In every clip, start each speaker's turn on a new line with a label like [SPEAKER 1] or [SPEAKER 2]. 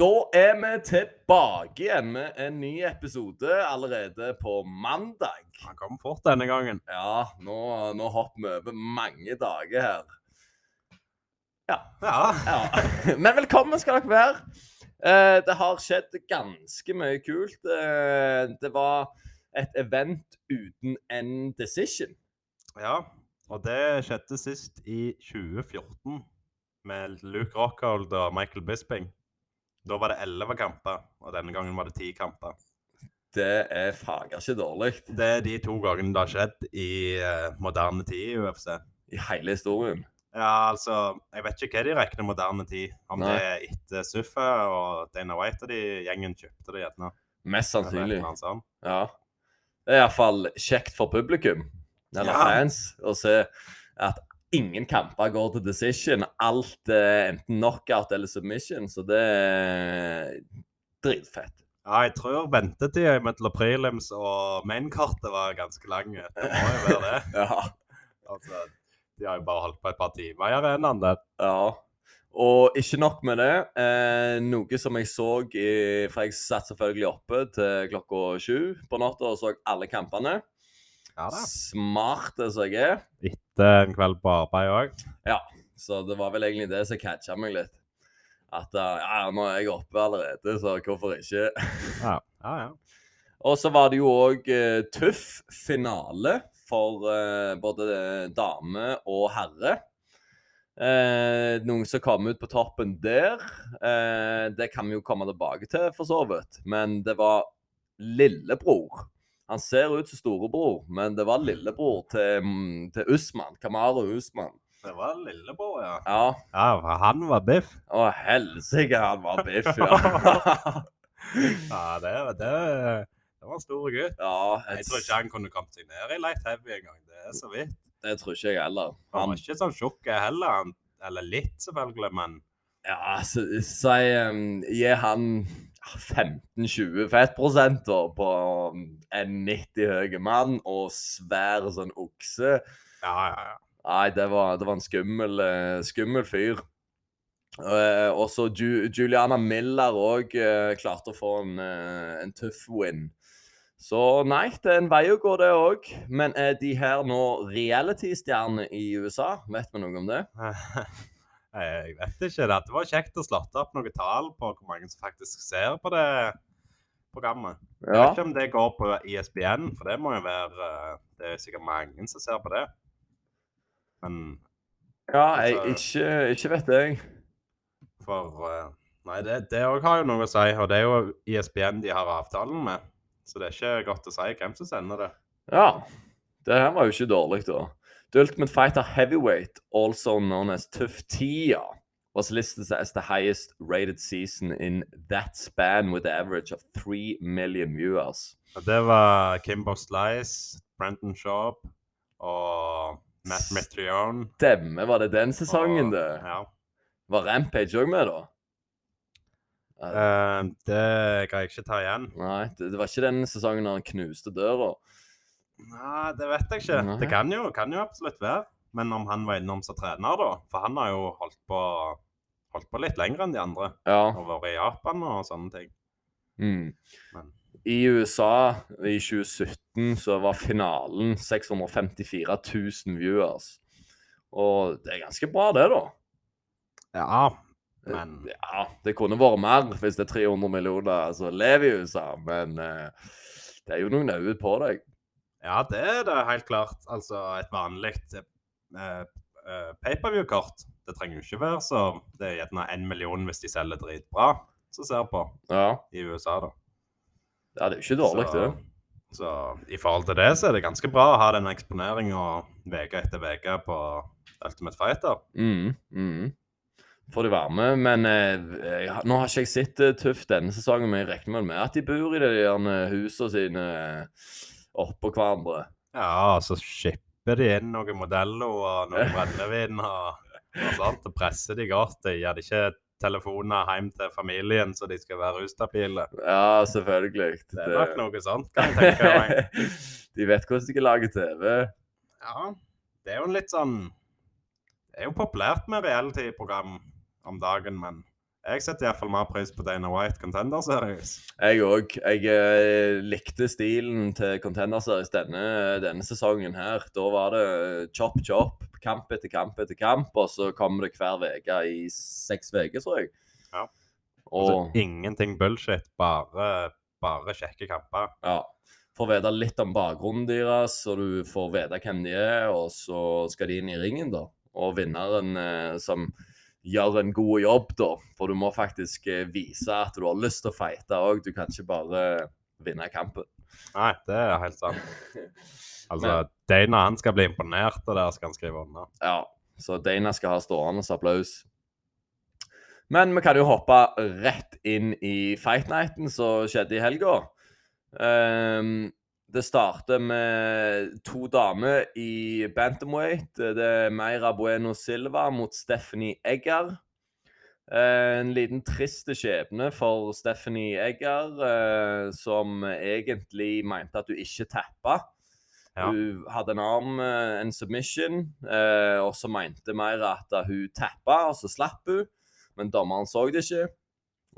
[SPEAKER 1] Da er vi tilbake igjen med en ny episode allerede på mandag.
[SPEAKER 2] Han kom fort denne gangen.
[SPEAKER 1] Ja, nå, nå hopper vi over mange dager her.
[SPEAKER 2] Ja.
[SPEAKER 1] Ja. Men velkommen skal dere være. Eh, det har skjedd ganske mye kult. Eh, det var et event uten en decision.
[SPEAKER 2] ja. Og det skjedde sist i 2014 med Luke Rockhold og Michael Bisping. Da var det elleve kamper, og denne gangen var det ti kamper.
[SPEAKER 1] Det er fager ikke dårlig
[SPEAKER 2] Det er de to gangene det har skjedd i eh, moderne tid i UFC.
[SPEAKER 1] i hele historien.
[SPEAKER 2] Ja, altså, jeg vet ikke hva de regner moderne tid. Om
[SPEAKER 1] Nei.
[SPEAKER 2] det er etter Suffe og Dana White og de gjengen kjøpte det gjerne.
[SPEAKER 1] Mest
[SPEAKER 2] Eller et eller
[SPEAKER 1] sannsynlig.
[SPEAKER 2] annet sånt.
[SPEAKER 1] Ja. Det er iallfall kjekt for publikum, eller
[SPEAKER 2] Ja.
[SPEAKER 1] fans, å se at ingen kamper går til decision. Alt er enten knockout eller submission, så det er dritfett.
[SPEAKER 2] Ja, jeg tror ventetida mellom prelims og mainkartet var ganske lang. Det må jo være det.
[SPEAKER 1] Ja.
[SPEAKER 2] Altså, de har jo bare holdt på et par timer i arenaen der.
[SPEAKER 1] ja. Og ikke nok med det. Eh, noe som jeg så i For jeg satt selvfølgelig oppe til klokka sju på natta og så alle kampene.
[SPEAKER 2] Ja
[SPEAKER 1] Smart som jeg er.
[SPEAKER 2] Etter en kveld på arbeid òg.
[SPEAKER 1] Så det var vel egentlig det som catcha meg litt. At eh, ja, nå er jeg oppe allerede, så hvorfor ikke?
[SPEAKER 2] Ja, ja. ja.
[SPEAKER 1] Og så var det jo òg eh, tøff finale for eh, både dame og herre. Eh, noen som kom ut på toppen der. Eh, det kan vi jo komme tilbake til, for så vidt. Men det var lillebror. Han ser ut som storebror, men det var lillebror til, mm, til Usman. Kamaru Usman.
[SPEAKER 2] Det var lillebror, ja.
[SPEAKER 1] Ja,
[SPEAKER 2] Ja, for han var biff.
[SPEAKER 1] å helsike, han var biff, ja.
[SPEAKER 2] Ja, det, det, det var en stor gutt.
[SPEAKER 1] ja,
[SPEAKER 2] Jeg
[SPEAKER 1] et-
[SPEAKER 2] tror ikke han kunne kommet seg ned i light heavy engang. Det er så vidt.
[SPEAKER 1] det tror ikke jeg heller.
[SPEAKER 2] Han
[SPEAKER 1] Han
[SPEAKER 2] var ikke sånn tjukk heller. Han, eller litt, selvfølgelig, men
[SPEAKER 1] Ja, så, så jeg, um, gir han 15-20 fettprosenter på um, en 90 høy mann og svær sånn okse.
[SPEAKER 2] ja, ja, ja.
[SPEAKER 1] Nei, det var, det var en skummel, eh, skummel fyr. Uh, og så Ju Juliana Miller òg klarte å få en, eh, en tøff win. Så nei, det er en vei å gå, det òg. Men er de her nå reality-stjerner i USA? Vet vi noe om det?
[SPEAKER 2] Nei, Jeg vet ikke. Det Det var kjekt å slåtte opp noen tall på hvor mange som faktisk ser på det programmet. Jeg vet ikke om det går på E ISBN, for det må jo være eh, Det er sikkert mange som ser på det. Men
[SPEAKER 1] Ja, jeg, ikke, ikke vet jeg.
[SPEAKER 2] for eh, Nei, det det òg har jo noe å si, og det er jo E ISBN de har avtalen med. Så det er ikke godt å si hvem som sender det.
[SPEAKER 1] Ja. Det her var jo ikke dårlig, da. The Ultimate Fighter Heavyweight, also known as Tough Tia, was listed as the highest rated season in that span with an average of 3 million viewers.
[SPEAKER 2] Og det var Kimbo Slice, Brenton Sharp og Matt Mitrione.
[SPEAKER 1] Demme, var det den sesongen, det?
[SPEAKER 2] Ja.
[SPEAKER 1] Var Rampage òg med, da? Eh,
[SPEAKER 2] Eh, det kan jeg ikke ta igjen.
[SPEAKER 1] Nei, det, det var ikke den sesongen da han knuste døra.
[SPEAKER 2] Nei, det vet jeg ikke.
[SPEAKER 1] Nei.
[SPEAKER 2] Det kan jo, kan jo absolutt være. Men om han var innom som trener, da? For han har jo holdt på, holdt på litt lenger enn de andre.
[SPEAKER 1] Ja.
[SPEAKER 2] Og vært i Japan og sånne ting.
[SPEAKER 1] Mm.
[SPEAKER 2] Men-
[SPEAKER 1] I USA i 2017 så var finalen 654 000 viewers. Og det er ganske bra, det, da.
[SPEAKER 2] Ja, men
[SPEAKER 1] Ja, det kunne vært mer hvis det er 300 millioner som lever i USA, men eh, det er jo noen øyne på deg.
[SPEAKER 2] Ja, det er det helt klart. Altså et vanlig eh, eh, pay-per-view-kort. Det trenger jo ikke være så Det er gjerne én million hvis de selger dritbra, som ser på
[SPEAKER 1] Ja,
[SPEAKER 2] i USA, da.
[SPEAKER 1] ja det er jo ikke dårlig,
[SPEAKER 2] Så-
[SPEAKER 1] det.
[SPEAKER 2] Så i forhold til det, så er det ganske bra å ha den eksponeringa uke etter uke på Ultimate Fighter.
[SPEAKER 1] Mm, mm. Får de være med, men eh, jeg, har- nå har ikke jeg sett det tøft denne sesongen, men jeg regner vel med at de bor i de gjerne husene sine eh, oppå hverandre.
[SPEAKER 2] Ja, og så shipper de inn noen modeller og noen brennevin og, og sånt, og presser de godt. De gir de ikke telefoner hjem til familien, så de skal være ustabile.
[SPEAKER 1] Ja, selvfølgelig.
[SPEAKER 2] Det er nok noe sånt, kan jeg tenke meg.
[SPEAKER 1] de vet hvordan de kan lage TV.
[SPEAKER 2] Ja, det er jo en litt sånn Det er jo populært med reality-program om dagen, men Jeg setter iallfall mer pris på Dana White Contender Series.
[SPEAKER 1] Jeg òg. Jeg eh, likte stilen til Contender Series denne, denne sesongen her. Da var det eh, chop, chop, kamp etter kamp etter kamp, og så kommer det hver uke i seks uker, tror jeg.
[SPEAKER 2] Ja.
[SPEAKER 1] Og
[SPEAKER 2] Altså, ingenting bullshit, bare, bare kjekke kamper.
[SPEAKER 1] ja, får vite litt om bakgrunnen deres, og du får vite hvem de er, og så skal de inn i ringen, da. Og vinneren eh, som gjør en god jobb, da. For du må faktisk eh, vise at du har lyst til å fighte òg. Du kan ikke bare eh, vinne kampen.
[SPEAKER 2] Nei, det er helt sant. Altså, Dana han skal bli imponert, og der skal han skrive under.
[SPEAKER 1] Ja, så Dana skal ha stående applaus. Men vi kan jo hoppe rett inn i fight nighten som skjedde i helga. Ehm, det starter med to damer i bantamweight. Det er Meira Bueno Silva mot Stephanie Egger. Eh, En liten trist skjebne for Stephanie Egger, eh, som egentlig mente at hun ikke tappa.
[SPEAKER 2] Ja.
[SPEAKER 1] Hun hadde en arm, eh, en submission, eh, og så mente Meira at eh, hun tappa, og så slapp hun. Men dommeren så det ikke.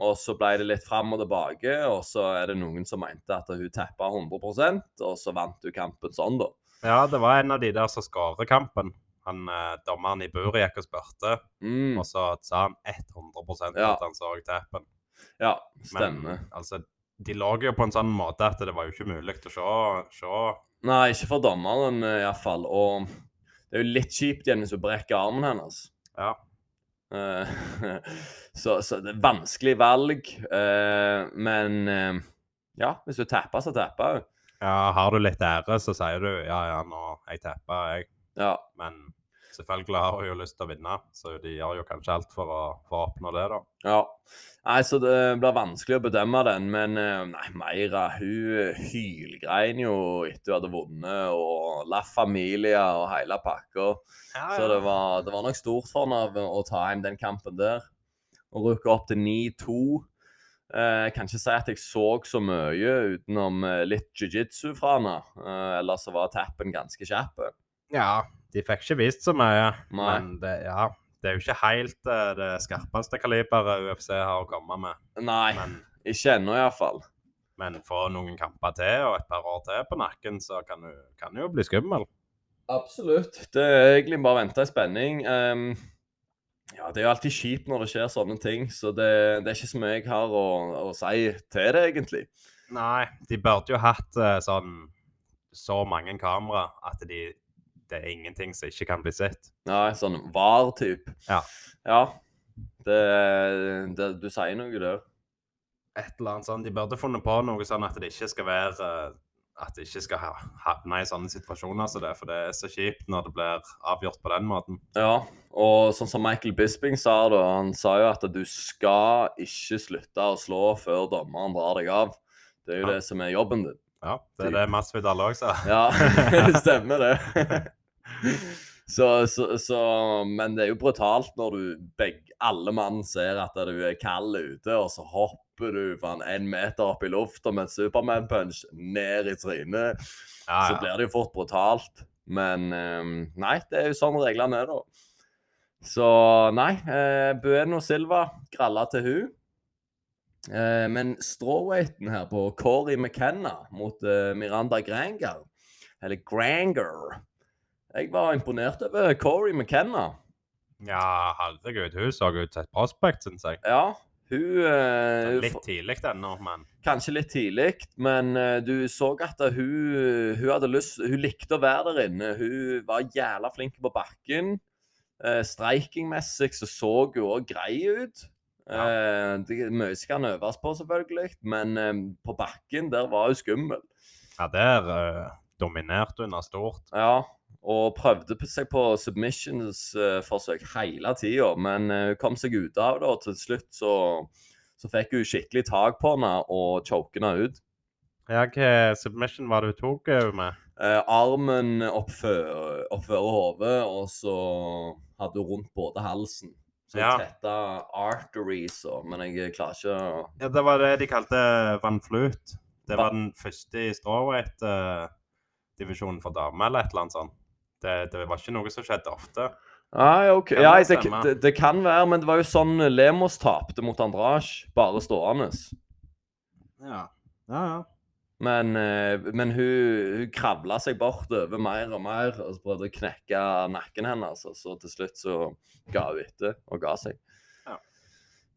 [SPEAKER 1] Og så ble det litt fram og tilbake, og så er det noen som mente at hun tappa 100 og så vant hun kampen sånn, da.
[SPEAKER 2] Ja, det var en av de der som skårer kampen. Han, eh, dommeren i buret gikk og spurte,
[SPEAKER 1] Mm,
[SPEAKER 2] og så sa han 100
[SPEAKER 1] Ja.
[SPEAKER 2] at han så tappen.
[SPEAKER 1] ja,
[SPEAKER 2] Men
[SPEAKER 1] stemmer.
[SPEAKER 2] altså, de lå jo på en sånn måte at det var jo ikke mulig å se. se.
[SPEAKER 1] Nei, ikke for dommeren eh, iallfall. Og det er jo litt kjipt igjen hvis hun brekker armen hennes.
[SPEAKER 2] Ja.
[SPEAKER 1] Eh, så, så det er vanskelig valg. eh, men eh, ja, hvis hun tapper, så tapper hun.
[SPEAKER 2] ja, har du litt ære, så sier du ja, ja, nå jeg tappa, jeg.
[SPEAKER 1] Ja,
[SPEAKER 2] Men selvfølgelig har hun jo lyst til å vinne, så de gjør jo kanskje alt for å, for å oppnå det, da.
[SPEAKER 1] ja. Nei, så det blir vanskelig å bedømme den. Men eh, nei, Meira hun eh, hylgrein jo etter hun hadde vunnet, og La Familia og hele pakka. Så det var, det var nok stort for han av å ta hjem den kampen der. Og rykke opp til 9-2. Eh, Jeg kan ikke si at jeg så så mye utenom eh, litt jiu-jitsu fra han. Eh, Ellers så var tappen ganske kjapp.
[SPEAKER 2] Ja, de fikk ikke vist så mye,
[SPEAKER 1] Nei.
[SPEAKER 2] men det, ja, det er jo ikke helt eh, det skarpeste kaliberet UFC har å komme med.
[SPEAKER 1] Nei,
[SPEAKER 2] Men,
[SPEAKER 1] ikke ennå iallfall.
[SPEAKER 2] men få noen kamper til og et par år til på nakken, så kan du kan jo bli skummel.
[SPEAKER 1] Absolutt. Det er egentlig bare å vente i spenning. Ehm, ja, det er jo alltid kjipt når det skjer sånne ting, så det, det er ikke så mye jeg har å, å si til det, egentlig.
[SPEAKER 2] Nei, de burde jo hatt eh, sånn så mange kamera at de, det er ingenting som ikke kan bli sett.
[SPEAKER 1] Nei, sånn var-typ.
[SPEAKER 2] Ja.
[SPEAKER 1] Ja. Det, det, du sier noe der.
[SPEAKER 2] Et eller annet sånn, De burde funnet på noe sånn at det ikke skal være eh, at det ikke skal ha- havne i sånne situasjoner som det, for det er så kjipt når det blir avgjort på den måten.
[SPEAKER 1] Ja, og sånn som Michael Bisping sa da, han sa jo at du skal ikke slutte å slå før dommeren drar deg av. Det er jo
[SPEAKER 2] Ja.
[SPEAKER 1] det som er jobben din.
[SPEAKER 2] Ja, det er det Masvidal òg sa.
[SPEAKER 1] Ja, stemmer det. Så, så, så, men det er jo brutalt når du begge, alle mann ser at du er kald ute, og så hopper du faen en meter opp i lufta med en Superman-punch ned i trynet.
[SPEAKER 2] Ja,
[SPEAKER 1] så
[SPEAKER 2] ja.
[SPEAKER 1] blir det jo fort brutalt. Men eh, nei, det er jo sånn reglene er, da. Så nei, eh, Bueno Silva gralla til hun. Eh, men strawweighten her på Corey McKenna mot eh, Miranda Granger, eller Granger Jeg var imponert over Corey McKenna.
[SPEAKER 2] Ja, herregud, hun så ut til et prospect, syns jeg.
[SPEAKER 1] Ja, hun eh,
[SPEAKER 2] Litt tidlig ennå, men
[SPEAKER 1] kanskje litt tidlig, men eh, du så at hun, hun hadde lyst Hun likte å være der inne. Hun var jævla flink på bakken. Eh, Streikingmessig så så hun òg grei ut.
[SPEAKER 2] Ja.
[SPEAKER 1] Eh, det er mye som kan øves på, selvfølgelig, men eh, på bakken, der var hun skummel.
[SPEAKER 2] ja, der eh, dominerte hun av stort.
[SPEAKER 1] Ja, og prøvde på seg på submissions-forsøk hele tida, men eh, hun kom seg ut av det, og til slutt så, så fikk hun skikkelig tak på henne og choket henne ut.
[SPEAKER 2] Ja, hva submission var det hun tok eh, med?
[SPEAKER 1] eh, armen oppføre, oppføre hodet, og så hadde hun rundt både halsen. Så jeg
[SPEAKER 2] Ja.
[SPEAKER 1] tetta arteries, og, men jeg klarer ikke å
[SPEAKER 2] Ja, Det var det de kalte Van Flut. Det var den første i eh, strawweight-divisjonen for damer, eller et eller annet sånt. Det, det var ikke noe som skjedde ofte.
[SPEAKER 1] Nei, ok.
[SPEAKER 2] Kan
[SPEAKER 1] Ja,
[SPEAKER 2] det
[SPEAKER 1] jeg,
[SPEAKER 2] stemme?
[SPEAKER 1] det, det kan være, men det var jo sånn Lemos tapte mot Andrasj, bare stående.
[SPEAKER 2] Ja. ja, ja.
[SPEAKER 1] Men, eh, men hun, hun kravla seg bortover mer og mer og så prøvde å knekke nakken hennes. Og så til slutt så ga hun etter og ga seg.
[SPEAKER 2] Ja.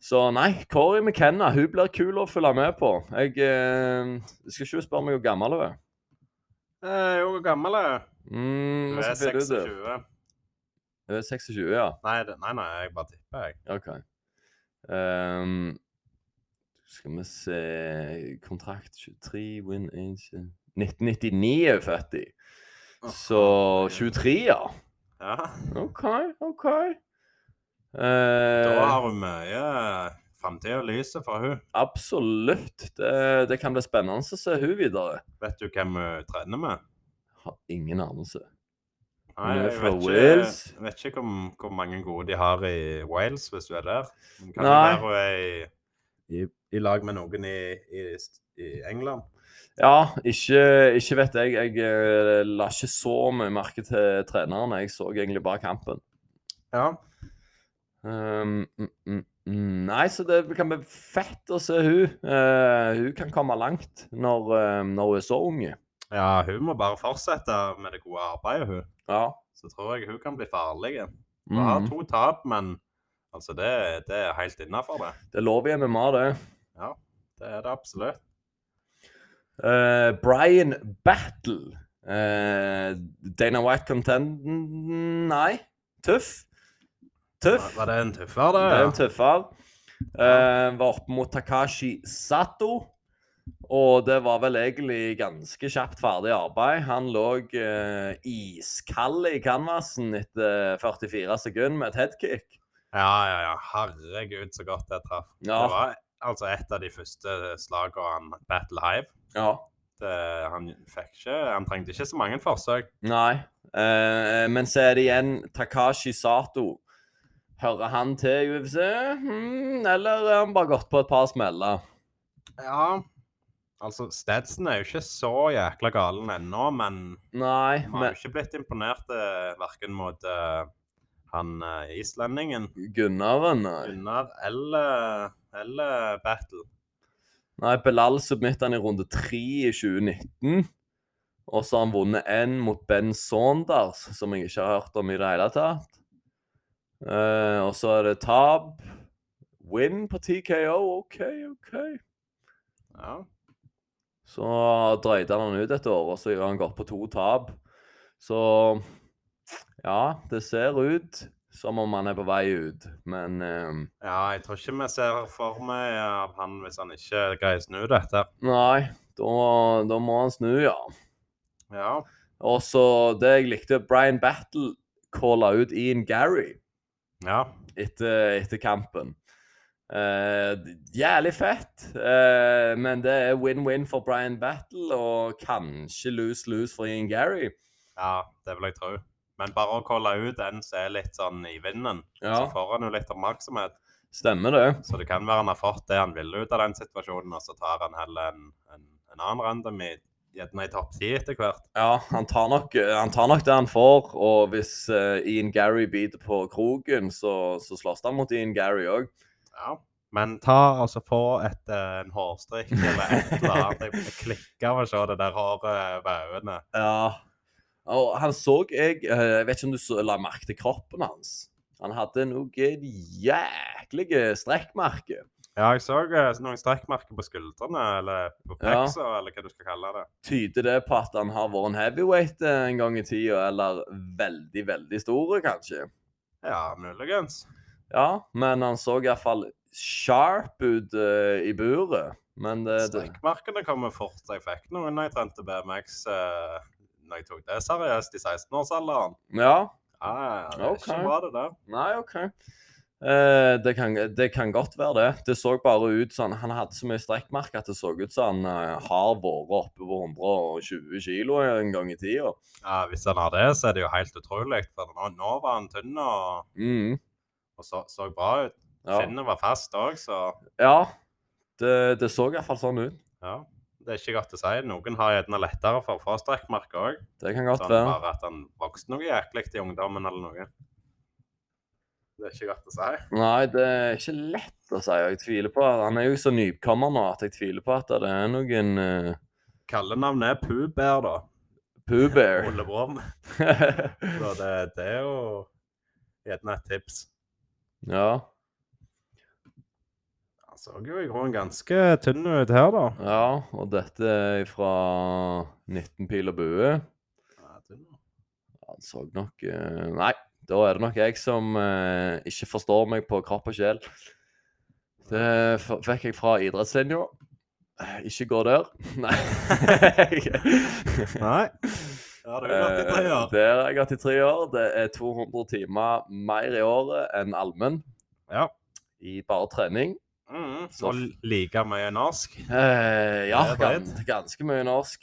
[SPEAKER 1] Så nei, Kori McKenna hun blir kul å følge med på. Jeg eh, skal ikke spørre meg hvor gammel hun er.
[SPEAKER 2] Eh, jo, hvor gammel er hun?
[SPEAKER 1] Mm,
[SPEAKER 2] Hun
[SPEAKER 1] jeg
[SPEAKER 2] er
[SPEAKER 1] skal finne ut det. Hun
[SPEAKER 2] 26.
[SPEAKER 1] er 26, ja.
[SPEAKER 2] Nei, det- nei, nei, jeg bare tipper, jeg.
[SPEAKER 1] OK. Ehm, skal vi se Kontrakt 23, Win Ancient 1999 er hun født i.
[SPEAKER 2] Åh,
[SPEAKER 1] Så
[SPEAKER 2] herregud.
[SPEAKER 1] 23, ja.
[SPEAKER 2] Ja.
[SPEAKER 1] OK, OK.
[SPEAKER 2] Da
[SPEAKER 1] Eh,
[SPEAKER 2] har hun mye framtida i lyset for hun.
[SPEAKER 1] absolutt. Det, det kan bli spennende å se hun videre.
[SPEAKER 2] Vet du hvem hun trener med?
[SPEAKER 1] Har ingen anelse.
[SPEAKER 2] Nei,
[SPEAKER 1] Hun er
[SPEAKER 2] jeg
[SPEAKER 1] fra
[SPEAKER 2] vet ikke,
[SPEAKER 1] Wales.
[SPEAKER 2] Jeg vet ikke om, hvor mange gode de har i Wales, hvis du er der. Men Kan det
[SPEAKER 1] Nei.
[SPEAKER 2] være hun er i, i, i lag med noen i, i, i England?
[SPEAKER 1] Ja, ikke, ikke vet jeg. Jeg eh, la ikke så mye merke til treneren. Jeg så egentlig bare kampen.
[SPEAKER 2] Ja.
[SPEAKER 1] Ehm, mm, mm, mm. Nei, så det kan bli fett å se hun. Eh, hun kan komme langt når, eh, når hun er så unge.
[SPEAKER 2] ja, hun må bare fortsette med det gode arbeidet, hun.
[SPEAKER 1] Ja.
[SPEAKER 2] Så tror jeg hun kan bli farlig. Hun har
[SPEAKER 1] Mm.
[SPEAKER 2] to tap, men altså det, det er helt innafor, det.
[SPEAKER 1] Det lover jeg med meg, det.
[SPEAKER 2] Det er det absolutt.
[SPEAKER 1] Eh, Brian Battle. Eh, Dana White Contenden Nei, tøff. Tøff.
[SPEAKER 2] Var det en tøffere,
[SPEAKER 1] Det
[SPEAKER 2] det?
[SPEAKER 1] er en tøffere. Eh, var opp mot Takashi Sato. Og det var vel egentlig ganske kjapt ferdig arbeid. Han lå eh, iskald i canvasen etter 44 sekunder med et headkick.
[SPEAKER 2] Ja, ja, ja. Herregud, så godt jeg traff. Det
[SPEAKER 1] Ja.
[SPEAKER 2] var altså et av de første slagene han Battle Hive.
[SPEAKER 1] ja.
[SPEAKER 2] Det, han fikk ikke Han trengte ikke så mange forsøk.
[SPEAKER 1] Nei. Eh, men så er det igjen Takashi Sato. Hører han til i UFC, hmm, eller har han bare gått på et par smeller?
[SPEAKER 2] Ja. Altså, Stetson er jo ikke så jækla galen ennå, men
[SPEAKER 1] Nei,
[SPEAKER 2] han har
[SPEAKER 1] men
[SPEAKER 2] jo ikke blitt imponert eh, verken mot eh, han eh, islendingen
[SPEAKER 1] Gunnaren Nei,
[SPEAKER 2] Gunnar eller, eller Battle.
[SPEAKER 1] Nei, Belal submittet han i runde tre i 2019. Og så har han vunnet én mot Ben Saunders, som jeg ikke har hørt om i det hele tatt. Eh, og så er det tap. Win på TKO. OK, OK.
[SPEAKER 2] Ja.
[SPEAKER 1] Så drøyde han han ut et år, og så har han gått på to tap. Så ja, det ser ut som om han er på vei ut, men eh,
[SPEAKER 2] ja, jeg tror ikke vi ser for meg av han hvis han ikke greier å snu dette.
[SPEAKER 1] Nei, da, da må han snu, ja.
[SPEAKER 2] Ja.
[SPEAKER 1] Og så det jeg likte Brian Battle calla ut Ian Gary
[SPEAKER 2] ja.
[SPEAKER 1] etter, etter kampen. Eh, jævlig fett, eh, men det er win-win for Brian Battle og kanskje lose-lose for Ian Gary.
[SPEAKER 2] Ja, det vil jeg tro. Men bare å kolle ut en som er litt sånn i vinden, så
[SPEAKER 1] Ja,
[SPEAKER 2] får han jo litt oppmerksomhet.
[SPEAKER 1] stemmer det.
[SPEAKER 2] Så det kan være han har fått det han ville ut av den situasjonen, og så tar han heller en, en, en annen random i, gjerne i topp ti etter hvert.
[SPEAKER 1] Ja, han tar nok, han tar nok det han får. Og hvis eh, Ian Gary biter på kroken, så, så slåss han mot Ian Gary òg.
[SPEAKER 2] Ja. Men ta altså få et, eh, en hårstrikk eller et eller annet. Jeg klikker av å se det der håret eh, ved øynene.
[SPEAKER 1] Ja. Og han så jeg eh, Jeg vet ikke om du så, la merke til kroppen hans. Han hadde noen jæklige strekkmerker.
[SPEAKER 2] Ja, jeg så eh, noen strekkmerker på skuldrene, eller
[SPEAKER 1] Ja.
[SPEAKER 2] på peksa, eller hva du skal kalle det.
[SPEAKER 1] Tyder det på at han har vært en heavyweight eh, en gang i tida, eller veldig, veldig store, kanskje?
[SPEAKER 2] Ja, muligens.
[SPEAKER 1] Ja, men han så iallfall sharp ut eh, i buret. Men eh, det, det
[SPEAKER 2] Strekkmerkene kommer fort. Jeg fikk noen når jeg trente BMX eh, når jeg tok det seriøst i 16-årsalderen.
[SPEAKER 1] Ja.
[SPEAKER 2] Ja, ja, det er
[SPEAKER 1] Ok.
[SPEAKER 2] ikke bra, det der.
[SPEAKER 1] Nei, OK. Eh, det, kan, det kan godt være det. Det så bare ut sånn, Han hadde så mye strekkmerker at det så ut som han eh, har vært oppe på 120 kilo en gang i tida.
[SPEAKER 2] Ja, hvis han har det, så er det jo helt utrolig. For nå, nå var han tynn og,
[SPEAKER 1] Mm,
[SPEAKER 2] og så, så bra ut.
[SPEAKER 1] ja.
[SPEAKER 2] Skinnet var fast òg, så
[SPEAKER 1] ja. Det, det så iallfall sånn ut.
[SPEAKER 2] ja. Det er ikke godt å si. Noen har gjerne lettere for å få strekkmerker òg.
[SPEAKER 1] Det kan godt
[SPEAKER 2] Sånn
[SPEAKER 1] være.
[SPEAKER 2] bare at han vokste noe jæklig i ungdommen eller noe. Det er ikke godt å si.
[SPEAKER 1] Nei, det er ikke lett å si. og Jeg tviler på Han er jo så nykommer nå at jeg tviler på at det er noen uh,
[SPEAKER 2] Kallenavnet er Pooh Bear, da.
[SPEAKER 1] Pooh Bear.
[SPEAKER 2] Ole Brumm. Så det, det er jo gjerne et tips.
[SPEAKER 1] ja.
[SPEAKER 2] Han så jo i grunnen ganske tynn ut her, da.
[SPEAKER 1] ja. Og dette er fra 19 pil og bue.
[SPEAKER 2] Ja, tynn.
[SPEAKER 1] Han så nok eh, Nei, da er det nok jeg som eh, ikke forstår meg på kropp og sjel. Det f- fikk jeg fra idrettslinja. Eh, Ikke gå der. Nei.
[SPEAKER 2] Nei. Ja, det er jo godt i tre
[SPEAKER 1] Eh,
[SPEAKER 2] år.
[SPEAKER 1] Der har jeg hatt i tre år. Det er 200 timer mer i året enn allmenn
[SPEAKER 2] Ja.
[SPEAKER 1] i bare trening.
[SPEAKER 2] Mm,
[SPEAKER 1] Så-
[SPEAKER 2] så like mye norsk.
[SPEAKER 1] Eh, ja,
[SPEAKER 2] Det er
[SPEAKER 1] gans,
[SPEAKER 2] bredt.
[SPEAKER 1] ganske mye norsk.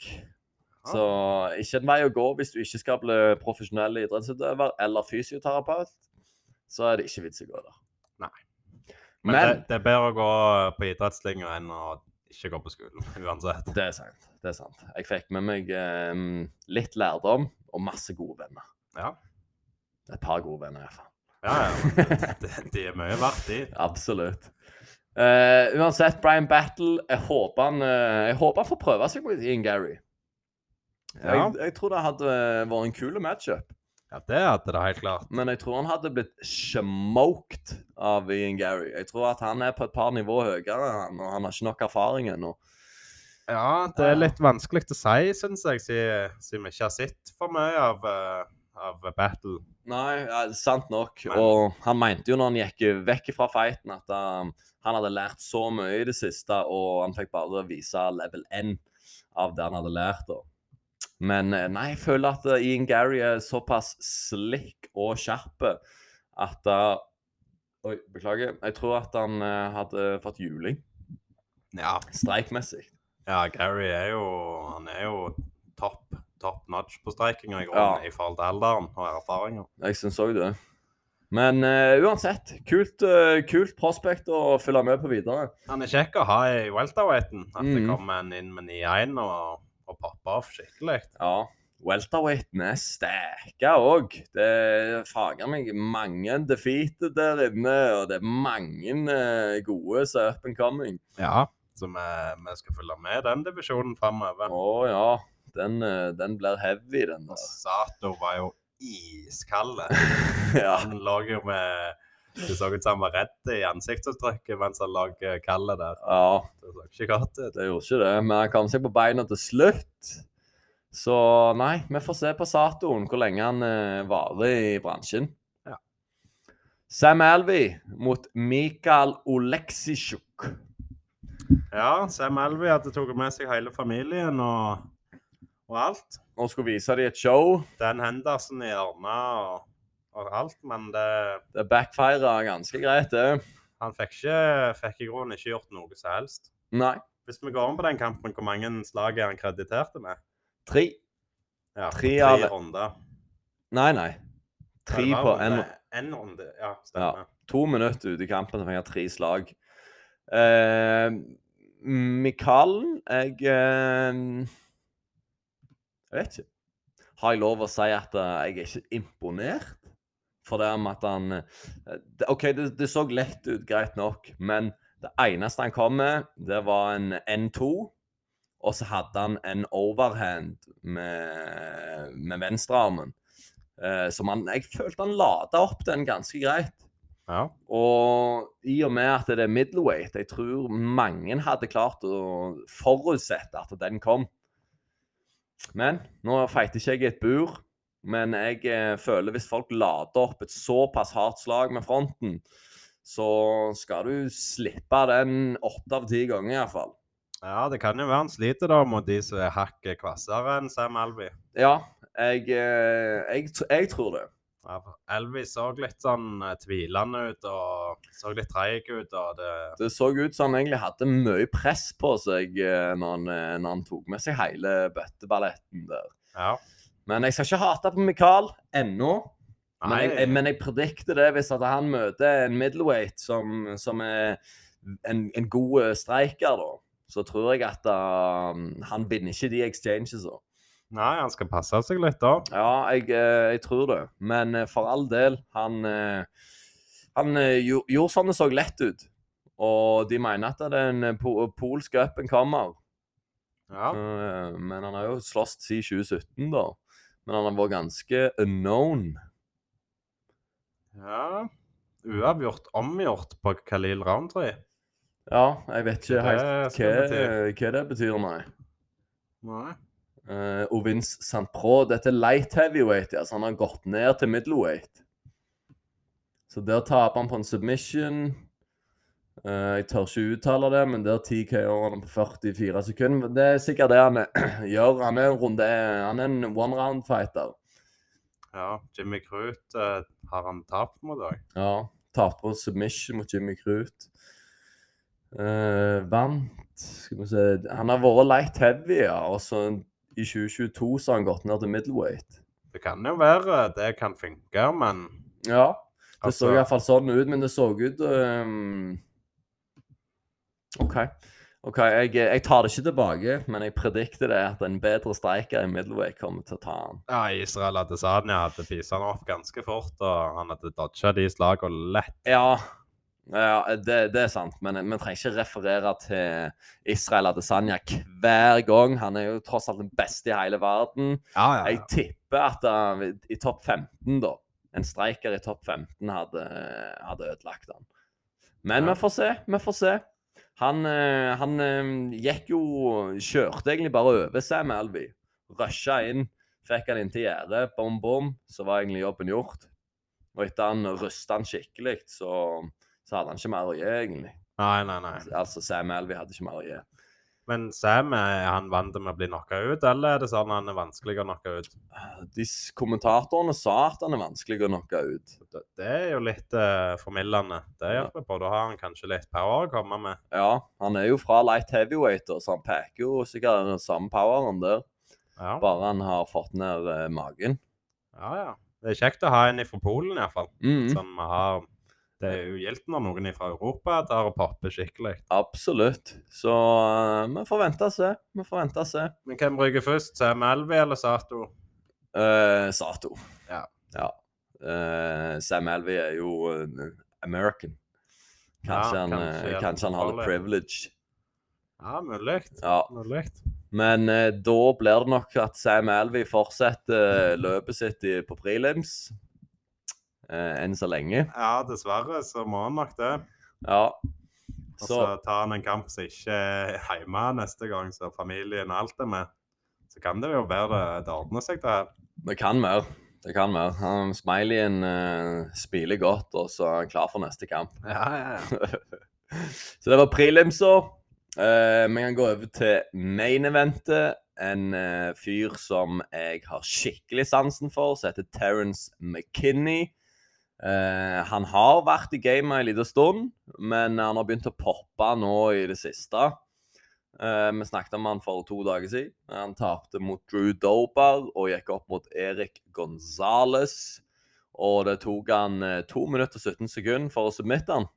[SPEAKER 1] Så ikke en vei å gå hvis du ikke skal bli profesjonell idrettsutøver eller fysioterapeut. Så er det ikke vits i å gå der.
[SPEAKER 2] Nei. Men,
[SPEAKER 1] Men
[SPEAKER 2] det, det er bedre å gå på idrettslinja enn å ikke gå på skolen, uansett.
[SPEAKER 1] det er sant. Det er sant. Jeg fikk med meg eh, litt lærdom og masse gode venner.
[SPEAKER 2] Ja.
[SPEAKER 1] Et par gode venner, iallfall.
[SPEAKER 2] Ja, ja. men det- det- De er mye verdt, de.
[SPEAKER 1] Absolutt. Eh, uansett, Brian Battle Jeg håper han, eh, jeg håper han får prøve seg mot Ian Gary.
[SPEAKER 2] Ja.
[SPEAKER 1] Jeg, jeg tror det hadde vært en kul matchup,
[SPEAKER 2] Ja, det hadde det helt klart.
[SPEAKER 1] men jeg tror han hadde blitt smoked av Ian Gary. Jeg tror at han er på et par nivå høyere, han, og han har ikke nok erfaring ennå.
[SPEAKER 2] Ja, det er litt vanskelig å si, syns jeg, siden siden vi ikke har sett for mye av, eh, av Battle.
[SPEAKER 1] Nei, ja, sant nok.
[SPEAKER 2] Men-
[SPEAKER 1] Og han mente jo når han gikk vekk fra fighten, at um, han hadde lært så mye i det siste, og han fikk bare vise level 1 av det han hadde lært. da. Men eh, nei, jeg føler at eh, Ian Gary er såpass slick og skjerp at eh, Oi, beklager. Jeg tror at han eh, hadde fått juling
[SPEAKER 2] Ja.
[SPEAKER 1] streikmessig.
[SPEAKER 2] ja, Gary er jo Han er jo topp top nudge på strikinga i
[SPEAKER 1] Ja.
[SPEAKER 2] grunnen i forhold til alderen og erfaringer.
[SPEAKER 1] Jeg syns òg det. Men eh, uansett, kult, eh, kult prospect å følge med på videre.
[SPEAKER 2] Han er kjekk å ha i welterweighten. At det
[SPEAKER 1] Mhm.
[SPEAKER 2] kommer en inn med 9-1 og, og popper av skikkelig.
[SPEAKER 1] Ja. Welterweighten er sterka òg. Det fager meg mange defeater der inne, og det er mange eh, gode som er up and coming.
[SPEAKER 2] Ja. Så vi, vi skal følge med den divisjonen framover.
[SPEAKER 1] Å ja. Den, eh, den blir heavy, den altså.
[SPEAKER 2] Og
[SPEAKER 1] der.
[SPEAKER 2] Sato var jo iskald.
[SPEAKER 1] ja.
[SPEAKER 2] Han lå jo med Det så ut som han var redd i ansiktsuttrykket mens han lå eh, kalde der.
[SPEAKER 1] ja.
[SPEAKER 2] Det så ikke godt ut.
[SPEAKER 1] Det gjorde ikke det, men han kom seg på beina til slutt. Så nei, vi får se på Satoen hvor lenge han eh, varer i bransjen.
[SPEAKER 2] Ja.
[SPEAKER 1] Sam Alvey mot Mikael Oleksisjuk.
[SPEAKER 2] Ja, Sam Alvey hadde tatt med seg hele familien og, og alt.
[SPEAKER 1] Og skulle vise dem et show.
[SPEAKER 2] Dan Henderson i Arna og, og alt, men det,
[SPEAKER 1] Det backfira ganske greit, det.
[SPEAKER 2] han fikk, ikke, fikk i grunnen ikke gjort noe som helst.
[SPEAKER 1] Nei.
[SPEAKER 2] Hvis vi går om på den kampen, hvor mange slag er han krediterte med?
[SPEAKER 1] Tre.
[SPEAKER 2] Ja,
[SPEAKER 1] Tre av-
[SPEAKER 2] runder.
[SPEAKER 1] Nei, nei. Tre
[SPEAKER 2] Ja, det
[SPEAKER 1] på
[SPEAKER 2] var
[SPEAKER 1] en
[SPEAKER 2] runde- En runde, ja. Stemmer.
[SPEAKER 1] To minutter ute i kampen og fikk tre slag. Eh, Mikaelen Jeg eh, Jeg vet ikke. Har jeg lov å si at eh, jeg er ikke imponert? For det med at han eh, det- OK, det, det så lett ut, greit nok, men det eneste han kom med, det var en N2. Og så hadde han en overhand med, med venstrearmen. Eh, som han Jeg følte han lada opp den ganske greit.
[SPEAKER 2] Ja.
[SPEAKER 1] Og i og med at det er middleweight, jeg tror mange hadde klart å forutsette at den kom. Men nå feiter ikke jeg i et bur. Men jeg eh, føler hvis folk lader opp et såpass hardt slag med fronten, så skal du slippe den åtte av ti ganger iallfall.
[SPEAKER 2] Ja, det kan jo være han sliter da mot de som er hakket kvassere enn Sam Alvey.
[SPEAKER 1] Ja, jeg, eh, jeg, tr- jeg tror det.
[SPEAKER 2] Ja, for Alvey så litt sånn eh, tvilende ut og så litt treig ut. og det...
[SPEAKER 1] Det så ut som han egentlig hadde mye press på seg eh, når han, eh, når han tok med seg hele bøtteballetten der.
[SPEAKER 2] Ja.
[SPEAKER 1] Men jeg skal ikke hate på Mikael ennå. Men jeg, jeg,
[SPEAKER 2] Nei,
[SPEAKER 1] men jeg predikter det hvis at han møter en middleweight som, som er en, en god eh, streiker, da. Så tror jeg at um, han vinner ikke de exchangesa.
[SPEAKER 2] nei, han skal passe seg litt da.
[SPEAKER 1] Ja, jeg, eh, jeg tror det. Men eh, for all del, han eh, han eh, gjo- gjorde sånn det så lett ut. Og de mener at den eh, po polske up and comer.
[SPEAKER 2] Ja.
[SPEAKER 1] Eh, Men han har jo slåss siden 2017, da. Men han har vært ganske unknown.
[SPEAKER 2] ja. Uavgjort, omgjort på Khalil Roundtree.
[SPEAKER 1] Ja, jeg vet ikke
[SPEAKER 2] Det
[SPEAKER 1] helt hva,
[SPEAKER 2] skal bety.
[SPEAKER 1] hva det betyr, nei.
[SPEAKER 2] Nei.
[SPEAKER 1] Uh, og Vince St. Pro, dette er light heavyweight, altså han har gått ned til middleweight. Så der taper han på en submission. Eh, jeg tør ikke uttale det, men der TK-er han på 44 sekunder. Men Det er sikkert det han er- gjør. Han er en runde, han er en one-round-fighter.
[SPEAKER 2] Ja, Jimmy Crute eh, har han tapt mot òg.
[SPEAKER 1] Ja, tapte på submission mot Jimmy Crute. Eh, vant Skal vi se Han har vært light heavy, ja. Og så i 2022 så har han gått ned til middleweight.
[SPEAKER 2] Det kan jo være eh, det kan funke, men
[SPEAKER 1] Ja. Det
[SPEAKER 2] altså,
[SPEAKER 1] så i hvert fall sånn ut, men det så ut ehm, OK. Ok, jeg, jeg tar det ikke tilbake, men jeg predikter det at en bedre streiker i middleweight kommer til å ta han.
[SPEAKER 2] ja, Israel Adesanya hadde pisa han opp ganske fort, og han hadde dodga de slagene lett.
[SPEAKER 1] Ja, ja det, det er sant, men vi trenger ikke referere til Israel Adesanya hver gang. Han er jo tross alt den beste i hele verden.
[SPEAKER 2] Ja,
[SPEAKER 1] Jeg tipper at han i topp 15, da En streiker i topp 15 hadde, hadde ødelagt han. Men
[SPEAKER 2] Ja.
[SPEAKER 1] vi får se. Vi får se. Han, eh, han eh, gikk jo Kjørte egentlig bare over Sam Alvey. Rusha inn. Fikk han inntil gjerdet, bom, bom, så var egentlig jobben gjort. Og etter han rusta han skikkelig, så, så hadde han ikke mer å gi, egentlig.
[SPEAKER 2] Nei, nei, nei.
[SPEAKER 1] Altså, Sam Alvey hadde ikke mer å gi.
[SPEAKER 2] Men Sam, eh, er han vant til med å bli knocka ut, eller er det sånn han er vanskelig å knocke ut?
[SPEAKER 1] De s- Eh, kommentatorene sa at han er vanskelig å knocke ut.
[SPEAKER 2] Det, det er jo litt eh, formildende. Det
[SPEAKER 1] Ja.
[SPEAKER 2] hjelper på. Da har han kanskje litt power å komme med.
[SPEAKER 1] Ja, han er jo fra light heavyweight, da, så han peker jo sikkert den samme poweren der.
[SPEAKER 2] Ja,
[SPEAKER 1] Bare han har fått ned eh, magen.
[SPEAKER 2] ja. ja. Det er kjekt å ha en fra Polen, iallfall.
[SPEAKER 1] Mhm,
[SPEAKER 2] Som vi har Det er jo gildt når noen fra Europa tar og popper skikkelig.
[SPEAKER 1] Absolutt. Så eh, vi får vente og se. Vi får vente og se.
[SPEAKER 2] Men hvem bruker først? Sam Alvey eller Sato?
[SPEAKER 1] Eh, Sato.
[SPEAKER 2] Ja.
[SPEAKER 1] ja. Eh, Sam Alvey er jo eh, American. Kanskje,
[SPEAKER 2] Ja,
[SPEAKER 1] han, eh,
[SPEAKER 2] kanskje er det
[SPEAKER 1] kanskje han har litt
[SPEAKER 2] farlig.
[SPEAKER 1] privilege.
[SPEAKER 2] Ja, mulig.
[SPEAKER 1] Ja.
[SPEAKER 2] Mulig.
[SPEAKER 1] Men eh, da blir det nok at Sam Alvey fortsetter eh, løpet sitt i, på prelims. Eh, enn så lenge.
[SPEAKER 2] Ja, dessverre så må han nok det.
[SPEAKER 1] Ja.
[SPEAKER 2] Og
[SPEAKER 1] Så
[SPEAKER 2] så tar han en kamp som ikke er hjemme neste gang, så familien og alt er med. Så kan det jo være det, det ordner seg, det her.
[SPEAKER 1] Det kan være. Det kan være. Han, smileyen eh, smiler godt, og så er han klar for neste kamp.
[SPEAKER 2] Ja, ja, ja.
[SPEAKER 1] så det var prelimsa. Eh, Vi kan gå over til main eventet. En eh, fyr som jeg har skikkelig sansen for, som heter Terence McKinney. Eh, han har vært i gamet en liten stund, men han har begynt å poppe nå i det siste. Eh, vi snakket om han for to dager siden. Han tapte mot Drew Dober og gikk opp mot Erik Gonzales. Og det tok han eh, 2 minutter og 17 sekunder for å submitte han.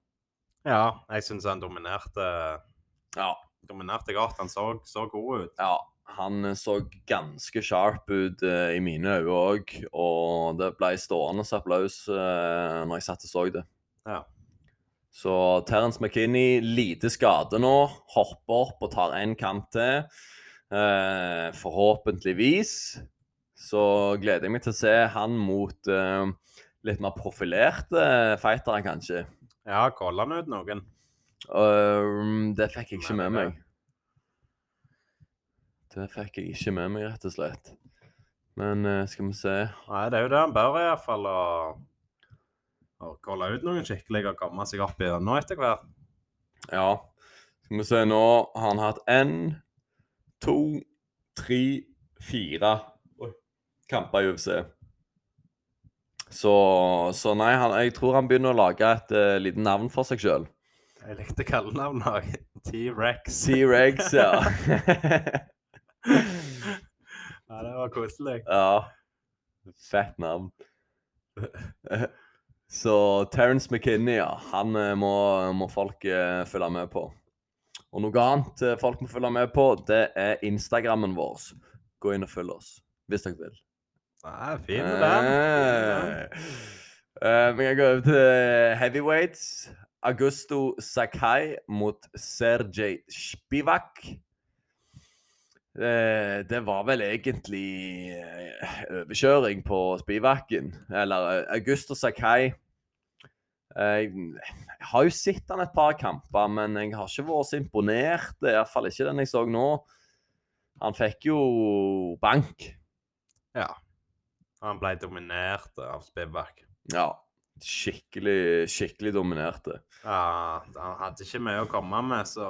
[SPEAKER 2] ja jeg syns han dominerte,
[SPEAKER 1] Ja,
[SPEAKER 2] dominerte godt. Han så, så god ut.
[SPEAKER 1] Ja, han så ganske sharp ut eh, i mine øyne òg, og det ble stående applaus eh, når jeg satt og så det.
[SPEAKER 2] Ja.
[SPEAKER 1] Så Terence McKinney, lite skade nå, hopper opp og tar én kamp til. Eh, forhåpentligvis så gleder jeg meg til å se han mot eh, litt mer profilerte fightere, kanskje.
[SPEAKER 2] Ja, kolla han ut noen?
[SPEAKER 1] Um, det fikk jeg ikke
[SPEAKER 2] Mener
[SPEAKER 1] med
[SPEAKER 2] du det?
[SPEAKER 1] meg. Det fikk jeg ikke med meg, rett og slett. Men eh, skal vi se
[SPEAKER 2] Nei, det er jo det han bør i hvert fall. Å, å kolla ut noen skikkelig og komme seg opp gjennom etter hvert.
[SPEAKER 1] Ja. Skal vi se nå har han hatt én, to, tre, fire Oi. kamper i UFC. Så, så nei, han, jeg tror han begynner å lage et uh, lite navn for seg sjøl.
[SPEAKER 2] Jeg likte kallenavnet òg. T-rex.
[SPEAKER 1] T-Regs, ja.
[SPEAKER 2] Ja, det var koselig.
[SPEAKER 1] Ja. Fett navn. Så Terence McKinney, ja. Han eh, må, må folk eh, følge med på. Og noe annet eh, folk må følge med på, det er Instagrammen vår. Gå inn og følg oss hvis dere vil.
[SPEAKER 2] Nei, fin den. Fin den.
[SPEAKER 1] Eh, Eh, Vi kan gå over til eh, heavyweights. Augusto Sakai mot Sergej Spivak. Eh, Det var vel egentlig eh, overkjøring på Spivaken. Eller eh, Augusto Sakai Eh, Jeg har jo sett han et par kamper, men jeg har ikke vært så imponert. Det er Iallfall ikke den jeg så nå. Han fikk jo bank.
[SPEAKER 2] Han ble dominert av Spivak.
[SPEAKER 1] Ja. Skikkelig, skikkelig dominerte.
[SPEAKER 2] Ja, han hadde ikke mye å komme med, så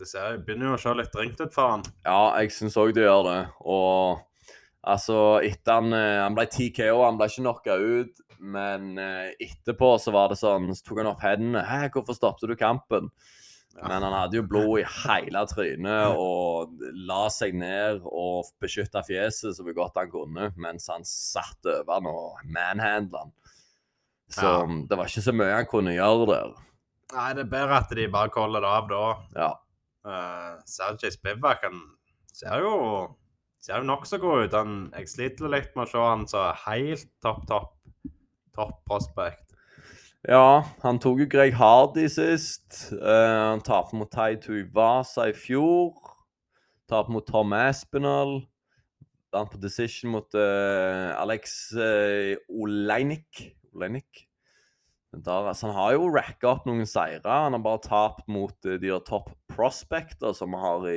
[SPEAKER 2] det ser, begynner jo å se litt dringt ut for han.
[SPEAKER 1] Ja, jeg syns òg det gjør det. Og altså, etter han, eh, han ble TKO, han ble ikke knocka ut, men eh, etterpå så var det sånn, så tok han opp hendene. 'Hæ, hvorfor stoppet du kampen?'
[SPEAKER 2] Ja.
[SPEAKER 1] Men han hadde jo blod i hele trynet og la seg ned og beskytta fjeset så godt han kunne, mens han satt over han og manhandla han. Så
[SPEAKER 2] Ja.
[SPEAKER 1] det var ikke så mye han kunne gjøre der.
[SPEAKER 2] Nei, det er bedre at de bare koller det av da.
[SPEAKER 1] Ja.
[SPEAKER 2] Uh, Sergej Spivak, han ser jo, ser jo nokså god ut. Han, jeg sliter litt med å se han så helt topp, topp, topp prospect.
[SPEAKER 1] Ja, han tok jo Greg Hardy sist. Eh, han tapte mot Tai Tuivasa i fjor. Tapte mot Tom Aspinall. Vant på decision mot eh, Alex eh, Oleinik. Oleinik. Men Der, altså, han har jo racka opp noen seire. Han har bare tapt mot eh, de der top prospector som vi har i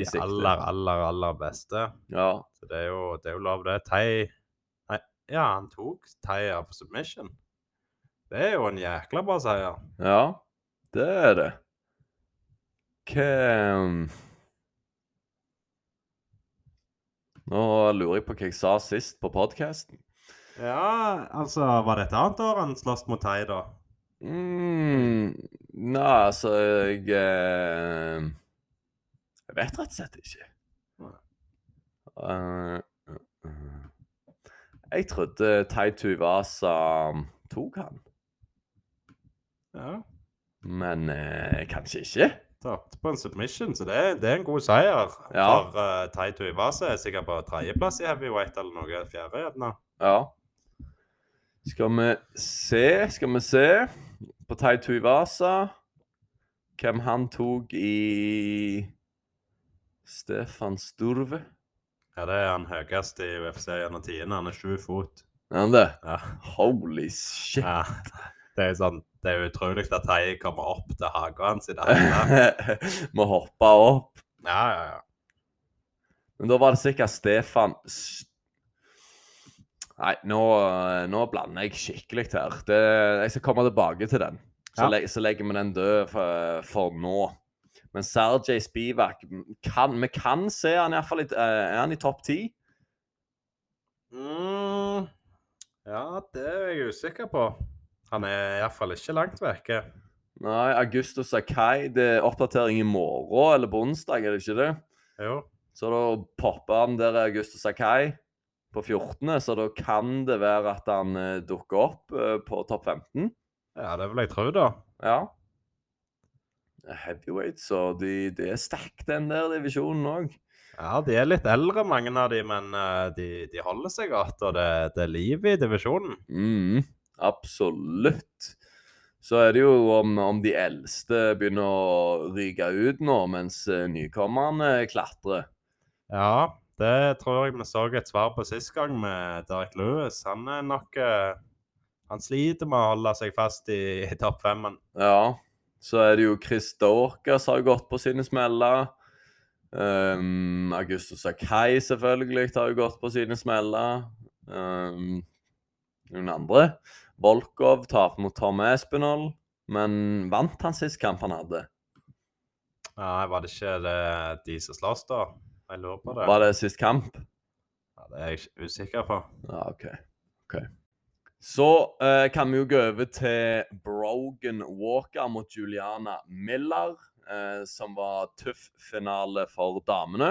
[SPEAKER 1] I
[SPEAKER 2] er
[SPEAKER 1] sikte.
[SPEAKER 2] de aller, aller, aller beste.
[SPEAKER 1] Ja,
[SPEAKER 2] Så det er jo, det er jo lov, det. Thai Nei, ja, han tok Thai av submission. Det er jo en jækla bra seier.
[SPEAKER 1] ja. Det er det. Hva Nå lurer jeg på hva jeg sa sist på podkasten.
[SPEAKER 2] Ja, altså, var det et annet år han sloss mot Thai, da?
[SPEAKER 1] Mm, nei, altså jeg eh, Jeg vet rett og slett ikke.
[SPEAKER 2] Nei.
[SPEAKER 1] Eh, eh, jeg trodde Tai Tuvasa tok han,
[SPEAKER 2] Ja.
[SPEAKER 1] men eh, kanskje ikke.
[SPEAKER 2] Tapte på en submission, så det, det er en god seier.
[SPEAKER 1] Ja.
[SPEAKER 2] For uh, Tai Tuivasa er sikkert på tredjeplass i heavyweight eller noe. Fjerde, gjerne.
[SPEAKER 1] Ja. Skal vi se, skal vi se på Tai Tuivasa hvem han tok i Stefan Sturve.
[SPEAKER 2] Ja, det er han høyeste i UFC gjennom tidene. Han er sju fot.
[SPEAKER 1] Er han det?
[SPEAKER 2] Ja.
[SPEAKER 1] Holy shit.
[SPEAKER 2] ja. Det er jo sånn, det er jo utrolig at Tai kommer opp til hagen hans i det hele.
[SPEAKER 1] Vi hoppa opp.
[SPEAKER 2] Ja, ja, ja.
[SPEAKER 1] Men da var det sikkert Stefan S- Nei, nå, nå blander jeg skikkelig her. Det, jeg skal komme tilbake til den. Så,
[SPEAKER 2] Ja.
[SPEAKER 1] le, så legger vi den død for, for nå. Men Sergej Spivak kan, Vi kan se han iallfall i eh, Er han i topp ti?
[SPEAKER 2] Mm, ja, det er jeg usikker på. Han er iallfall ikke langt vekke.
[SPEAKER 1] Nei, Augusto Sakai. Det er oppdatering i morgen eller på onsdag, er det ikke det?
[SPEAKER 2] Jo.
[SPEAKER 1] Så da popper han der Augusto Sakai på 14., så da kan det være at han eh, dukker opp eh, på topp 15.
[SPEAKER 2] Ja, det vil jeg tro, da.
[SPEAKER 1] Ja. Heavyweight, så de, det er sterk, den der divisjonen òg.
[SPEAKER 2] Ja, de er litt eldre, mange av de, men eh, de, de holder seg godt, og det, det er liv i divisjonen.
[SPEAKER 1] Mm, absolutt. Så er det jo om, om de eldste begynner å ryke ut nå, mens eh, nykommerne klatrer.
[SPEAKER 2] Ja, det tror jeg vi så et svar på sist gang med Derek Lewis. Han er nok eh, Han sliter med å holde seg fast i, i topp fem, men
[SPEAKER 1] Ja. Så er det jo Chris Dorcas har gått på sine smeller. Um, Augusto Sakai selvfølgelig har jo gått på sine smeller. Um, noen andre. Volkov tapte mot Tom Espinol, men vant han sist kamp han hadde?
[SPEAKER 2] nei, var det ikke det de som slåss, da? Jeg lurer på det.
[SPEAKER 1] Var det sist kamp?
[SPEAKER 2] Ja, det er jeg ikke usikker på.
[SPEAKER 1] Ja, OK. ok. Så eh, kan vi jo gå over til Brogan Walker mot Juliana Miller, eh, som var tøff finale for damene.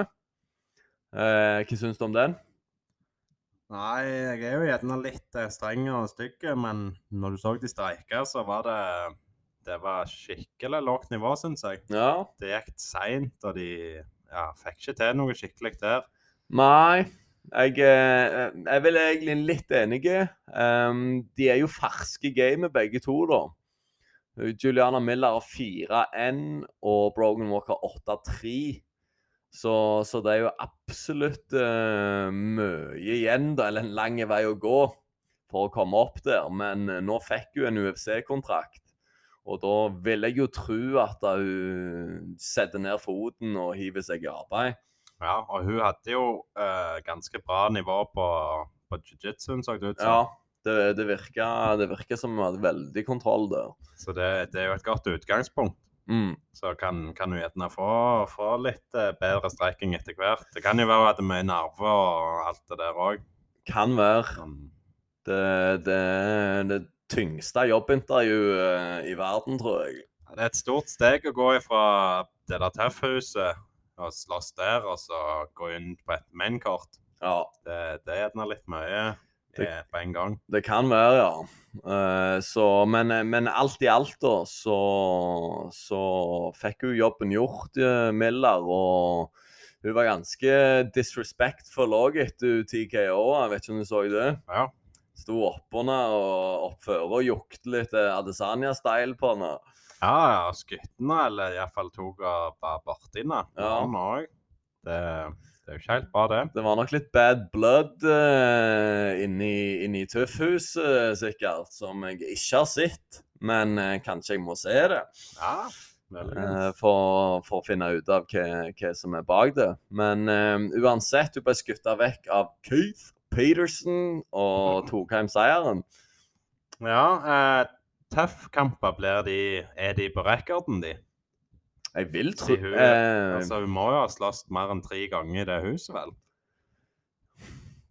[SPEAKER 1] Eh, hva syns du om den?
[SPEAKER 2] Nei, jeg er jo gjerne litt eh, streng og stygg, men når du så de streike, så var det Det var skikkelig lavt nivå, syns jeg.
[SPEAKER 1] Ja.
[SPEAKER 2] Det gikk seint, og de ja, fikk ikke til noe skikkelig der.
[SPEAKER 1] Nei. Jeg, eh, jeg er vel egentlig litt enige. Ehm, de er jo ferske i gamet, begge to, da. Juliana Miller har 4-1 og Brogan Walker 8-3. Så, så det er jo absolutt eh, mye igjen, da, eller en lang vei å gå for å komme opp der. Men eh, nå fikk hun en UFC-kontrakt, og da vil jeg jo tro at eh, hun setter ned foten og hiver seg i arbeid.
[SPEAKER 2] Ja, og hun hadde jo eh, ganske bra nivå på, på jiu-jitsuen, så det ut som.
[SPEAKER 1] Ja, det, det, virker, det virker som hun hadde veldig kontroll der.
[SPEAKER 2] Så det, det er jo et godt utgangspunkt.
[SPEAKER 1] Mm.
[SPEAKER 2] Så kan, kan hun gjerne få, få litt eh, bedre strekking etter hvert. Det kan jo være at det er mye nerver og alt det der òg.
[SPEAKER 1] Kan være.
[SPEAKER 2] Sånn,
[SPEAKER 1] Det, det, det tyngste jobbintervjuet i verden, tror jeg.
[SPEAKER 2] Ja, Det er et stort steg å gå ifra det der tøffhuset og slåss der, og så gå inn på et mennkort.
[SPEAKER 1] Ja,
[SPEAKER 2] Det, det er gjerne litt mye eh, på en gang.
[SPEAKER 1] det kan være, ja. Eh, Så, men, men alt i alt, da, så, så fikk hun jobben gjort, eh, Miller. Og hun var ganske disrespectful òg etter hun TKO. Jeg vet ikke om du så det.
[SPEAKER 2] Ja.
[SPEAKER 1] Sto oppunder og oppfører og jukte litt eh, Adesanya-style på henne.
[SPEAKER 2] Ja, ja, skuttene, eller iallfall tok og bare borti den.
[SPEAKER 1] Ja.
[SPEAKER 2] Han òg. Det, det er jo ikke helt bra, det.
[SPEAKER 1] Det var nok litt bad blood eh, inni, inni Tøffhuset, sikkert, som jeg ikke har sett. Men eh, kanskje jeg må se det
[SPEAKER 2] Ja, muligens.
[SPEAKER 1] eh, for, for å finne ut av hva, hva som er bak det. Men eh, uansett, hun ble skutta vekk av Keith Peterson og tok hjem seieren.
[SPEAKER 2] Ja, eh, tøffkamper blir de Er de på rekorden, de?
[SPEAKER 1] Jeg vil tro
[SPEAKER 2] I huet.
[SPEAKER 1] eh,
[SPEAKER 2] Altså, Hun må jo ha slåss mer enn tre ganger i det huset, vel?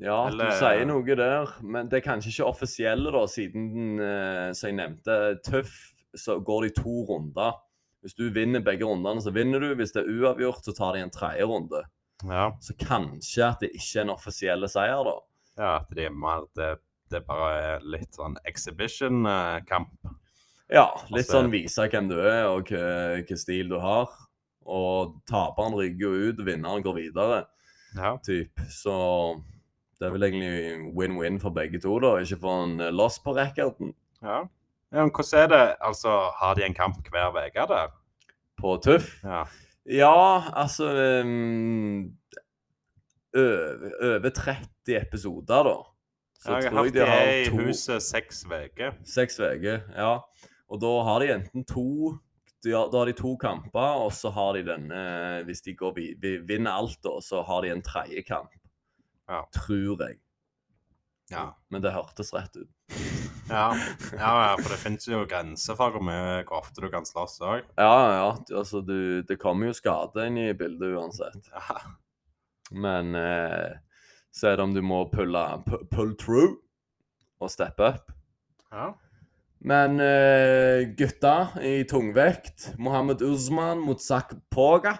[SPEAKER 1] Ja,
[SPEAKER 2] eller- eh,
[SPEAKER 1] du sier noe der. Men det er kanskje ikke offisielle, da, siden eh, som jeg nevnte, tøff, så går det i to runder. Hvis du vinner begge rundene, så vinner du. Hvis det er uavgjort, så tar de en tredje runde.
[SPEAKER 2] Ja.
[SPEAKER 1] Så kanskje at det ikke er en offisiell seier, da.
[SPEAKER 2] Ja, at de er mer Det, det bare er litt sånn exhibition-kamp.
[SPEAKER 1] Ja, litt
[SPEAKER 2] Altså-
[SPEAKER 1] sånn vise hvem du er, og hva hva stil du har. Og taperen rygger jo ut, og vinneren går videre,
[SPEAKER 2] Ja.
[SPEAKER 1] typ. Så det er vel egentlig win-win for begge to, da. Ikke få en eh, loss på rekorden
[SPEAKER 2] ja. Men hvordan er det? Altså, har de en kamp hver uke der?
[SPEAKER 1] på tøff.
[SPEAKER 2] Ja.
[SPEAKER 1] Ja, altså ehm, ø- Over 30 episoder, da. Så
[SPEAKER 2] jeg
[SPEAKER 1] tror jeg
[SPEAKER 2] har hørt
[SPEAKER 1] de
[SPEAKER 2] de er
[SPEAKER 1] har
[SPEAKER 2] i
[SPEAKER 1] to
[SPEAKER 2] huset seks uker.
[SPEAKER 1] Seks uker, ja. Og da har de enten to de har, Da har de to kamper, og så har de denne Hvis de går, vi, vi vinner alt, da, så har de en tredje kamp.
[SPEAKER 2] Ja.
[SPEAKER 1] Tror jeg.
[SPEAKER 2] Ja.
[SPEAKER 1] Men det hørtes rett ut.
[SPEAKER 2] Ja. ja, ja, for det finnes jo grenser for hvor mye hvor ofte du kan slåss òg.
[SPEAKER 1] Ja, ja. du- Altså, du Det kommer jo skade inn i bildet uansett.
[SPEAKER 2] Ja.
[SPEAKER 1] Men eh, så er det om du må pulle pu- pull through og steppe up.
[SPEAKER 2] Ja.
[SPEAKER 1] Men eh, gutta i tungvekt, Mohammed Usman mot Zak Poga.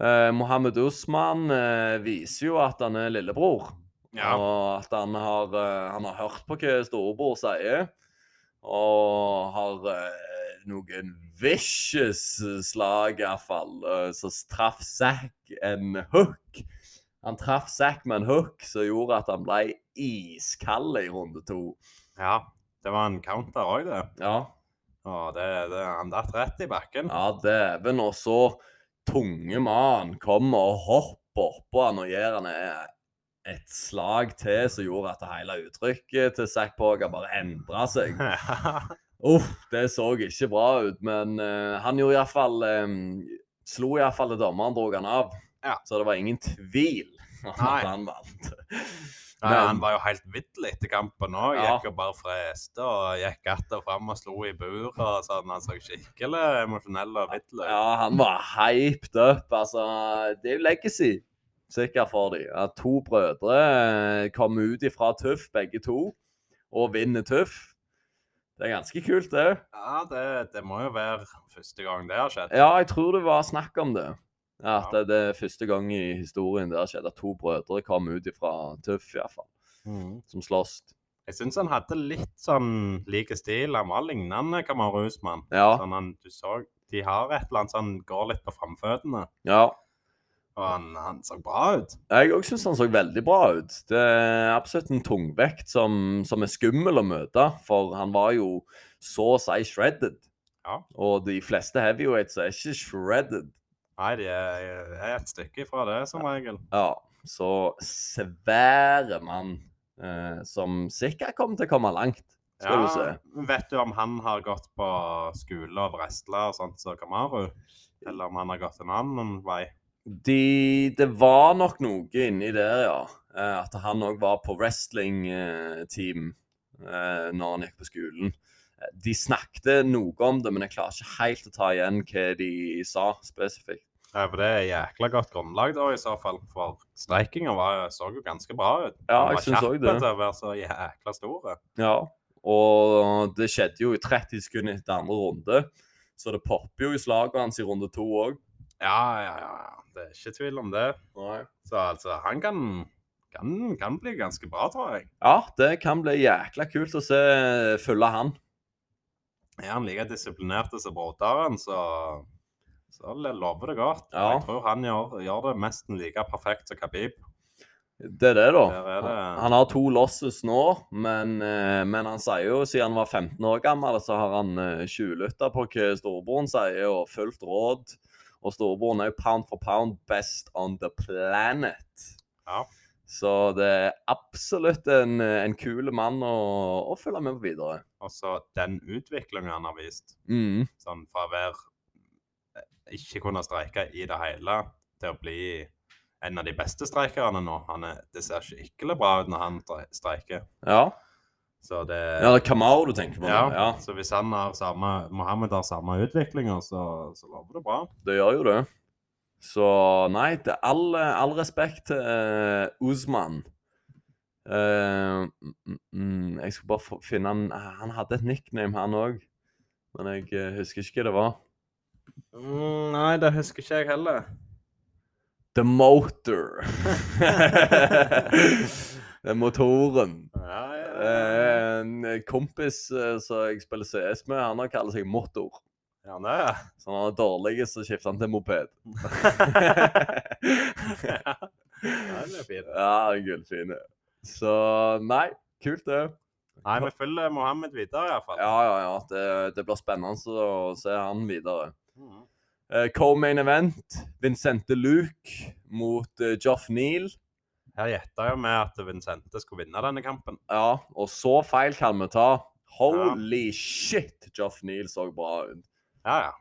[SPEAKER 1] Eh, Mohammed Usman eh, viser jo at han er lillebror,
[SPEAKER 2] ja.
[SPEAKER 1] og at han har, eh, han har hørt på hva storebror sier, og har eh, noen vicious slag, iallfall, som eh, traff Zack en hook. Han traff Zack med en hook som gjorde at han ble iskald i runde to.
[SPEAKER 2] ja. Det var en counter òg, det.
[SPEAKER 1] Ja,
[SPEAKER 2] Å, det, det. Han datt rett i bakken.
[SPEAKER 1] ja dæven. Og så tunge mann kommer og hopper oppå han og gir han e- et slag til som gjorde at hele uttrykket til Zack Poga bare endra seg. Uff, det så ikke bra ut, men eh, han gjorde iallfall um, Slo iallfall det dommeren drog han av.
[SPEAKER 2] Ja.
[SPEAKER 1] Så det var ingen tvil om
[SPEAKER 2] Nei.
[SPEAKER 1] at han vant.
[SPEAKER 2] Nei, han var jo helt vill etter kampen òg.
[SPEAKER 1] Ja.
[SPEAKER 2] Gikk og bare freste og gikk att og fram og slo i bur. og sånn. Han så skikkelig emosjonell og vill ut.
[SPEAKER 1] ja, han var hyped up. Altså, det er jo legacy, sikkert for dem. At to brødre eh, kommer ut ifra Tøff, begge to, og vinner Tøff. Det er ganske kult, det.
[SPEAKER 2] Ja, det, det må jo være første gang det har skjedd.
[SPEAKER 1] Ja, jeg tror det var snakk om det. At
[SPEAKER 2] Ja.
[SPEAKER 1] det det er første gang i historien det har skjedd at to brødre kom ut ifra Tøff, iallfall, som slåss.
[SPEAKER 2] Jeg syns han hadde litt sånn lik stil. Han var lignende Kamaru Usman.
[SPEAKER 1] Ja,
[SPEAKER 2] Sånn han, du så, de har et eller annet sånn går litt på framføttene.
[SPEAKER 1] ja.
[SPEAKER 2] Og han, han så bra ut.
[SPEAKER 1] Jeg òg syns han så veldig bra ut. Det er absolutt en tungvekt som, som er skummel å møte, for han var jo så å si shredded.
[SPEAKER 2] Ja.
[SPEAKER 1] Og de fleste heavyweights er ikke shredded.
[SPEAKER 2] Nei, de er, er et stykke ifra det, som regel.
[SPEAKER 1] Ja, så svære mann eh, som sikkert kommer til å komme langt, skal du se.
[SPEAKER 2] Vet du om han har gått på skole og wrestla og sånt som Kamaru? Eller om han har gått en annen vei?
[SPEAKER 1] De, det var nok noe inni der, ja. Eh, At han òg var på wrestling-team eh, når han gikk på skolen. Eh, De snakket noe om det, men jeg klarer ikke helt å ta igjen hva de sa spesifikt.
[SPEAKER 2] Nei, for det er jækla godt grunnlag da, i så fall. For streikinga var- så jo ganske bra ut.
[SPEAKER 1] Ja, jeg
[SPEAKER 2] Han var
[SPEAKER 1] synes
[SPEAKER 2] kjapp
[SPEAKER 1] også det.
[SPEAKER 2] til å være så jækla stor.
[SPEAKER 1] Ja. Og det skjedde jo i 30 sekunder etter andre runde, så det popper jo i slaget hans i runde to òg.
[SPEAKER 2] Ja, ja, ja. ja. Det er ikke tvil om det. Så altså, han kan, kan, kan bli ganske bra, tror jeg.
[SPEAKER 1] Ja, det kan bli jækla kult å se eh, følge han.
[SPEAKER 2] Er han like disiplinert som broderen, så, så det lover det godt.
[SPEAKER 1] Ja.
[SPEAKER 2] Jeg tror han gjør, gjør det nesten like perfekt som Khabib.
[SPEAKER 1] Det er det, da.
[SPEAKER 2] Der er det.
[SPEAKER 1] Han- Han har to losses nå, men, eh, men han sier jo siden han var 15 år gammel, så har han eh, tjuvlytta på hva storebroren sier, og fulgt råd. Og storebroren er jo pound for pound best on the planet.
[SPEAKER 2] Ja.
[SPEAKER 1] Så det er absolutt en, eh, en kul mann å, å følge med på videre.
[SPEAKER 2] Og så den utviklingen han har vist,
[SPEAKER 1] Mm.
[SPEAKER 2] sånn fra å være eh, ikke kunne streike i det hele, til å bli en av de beste streikerne nå. Han er, det ser skikkelig bra ut når han tre- streiker.
[SPEAKER 1] Ja.
[SPEAKER 2] Så det,
[SPEAKER 1] ja, det er Kamau du tenker på? nå,
[SPEAKER 2] ja,
[SPEAKER 1] ja.
[SPEAKER 2] Så hvis han har samme, Mohammed har samme utviklinger, så, så lover det bra.
[SPEAKER 1] Det gjør jo det. Så nei, til all, all respekt til eh, Usman. Eh, mm, mm, jeg skulle bare få- finne han Han hadde et nickname, han òg. Men jeg eh, husker ikke hva det var.
[SPEAKER 2] Mm, nei, det husker ikke jeg heller.
[SPEAKER 1] The Motor. Det er motoren.
[SPEAKER 2] Ja, ja, ja.
[SPEAKER 1] Eh, En kompis eh, som jeg spiller CS med, han har kaller seg Motor.
[SPEAKER 2] Ja, det er
[SPEAKER 1] Så når han er dårlig, så skifter han til moped.
[SPEAKER 2] det er fint.
[SPEAKER 1] Ja, gullfine. Så nei, kult det.
[SPEAKER 2] Nei, vi følger Mohammed videre iallfall.
[SPEAKER 1] Ja, ja, ja. Det, det blir spennende å se han videre.
[SPEAKER 2] Mm.
[SPEAKER 1] Eh, Co-main event. Vincente Luke mot eh, Joff Neal.
[SPEAKER 2] Her gjetta jo vi at Vincente skulle vinne denne kampen.
[SPEAKER 1] Ja, og så feil kan vi ta. Holy shit, Joff Neal så bra ut.
[SPEAKER 2] Ja, ja.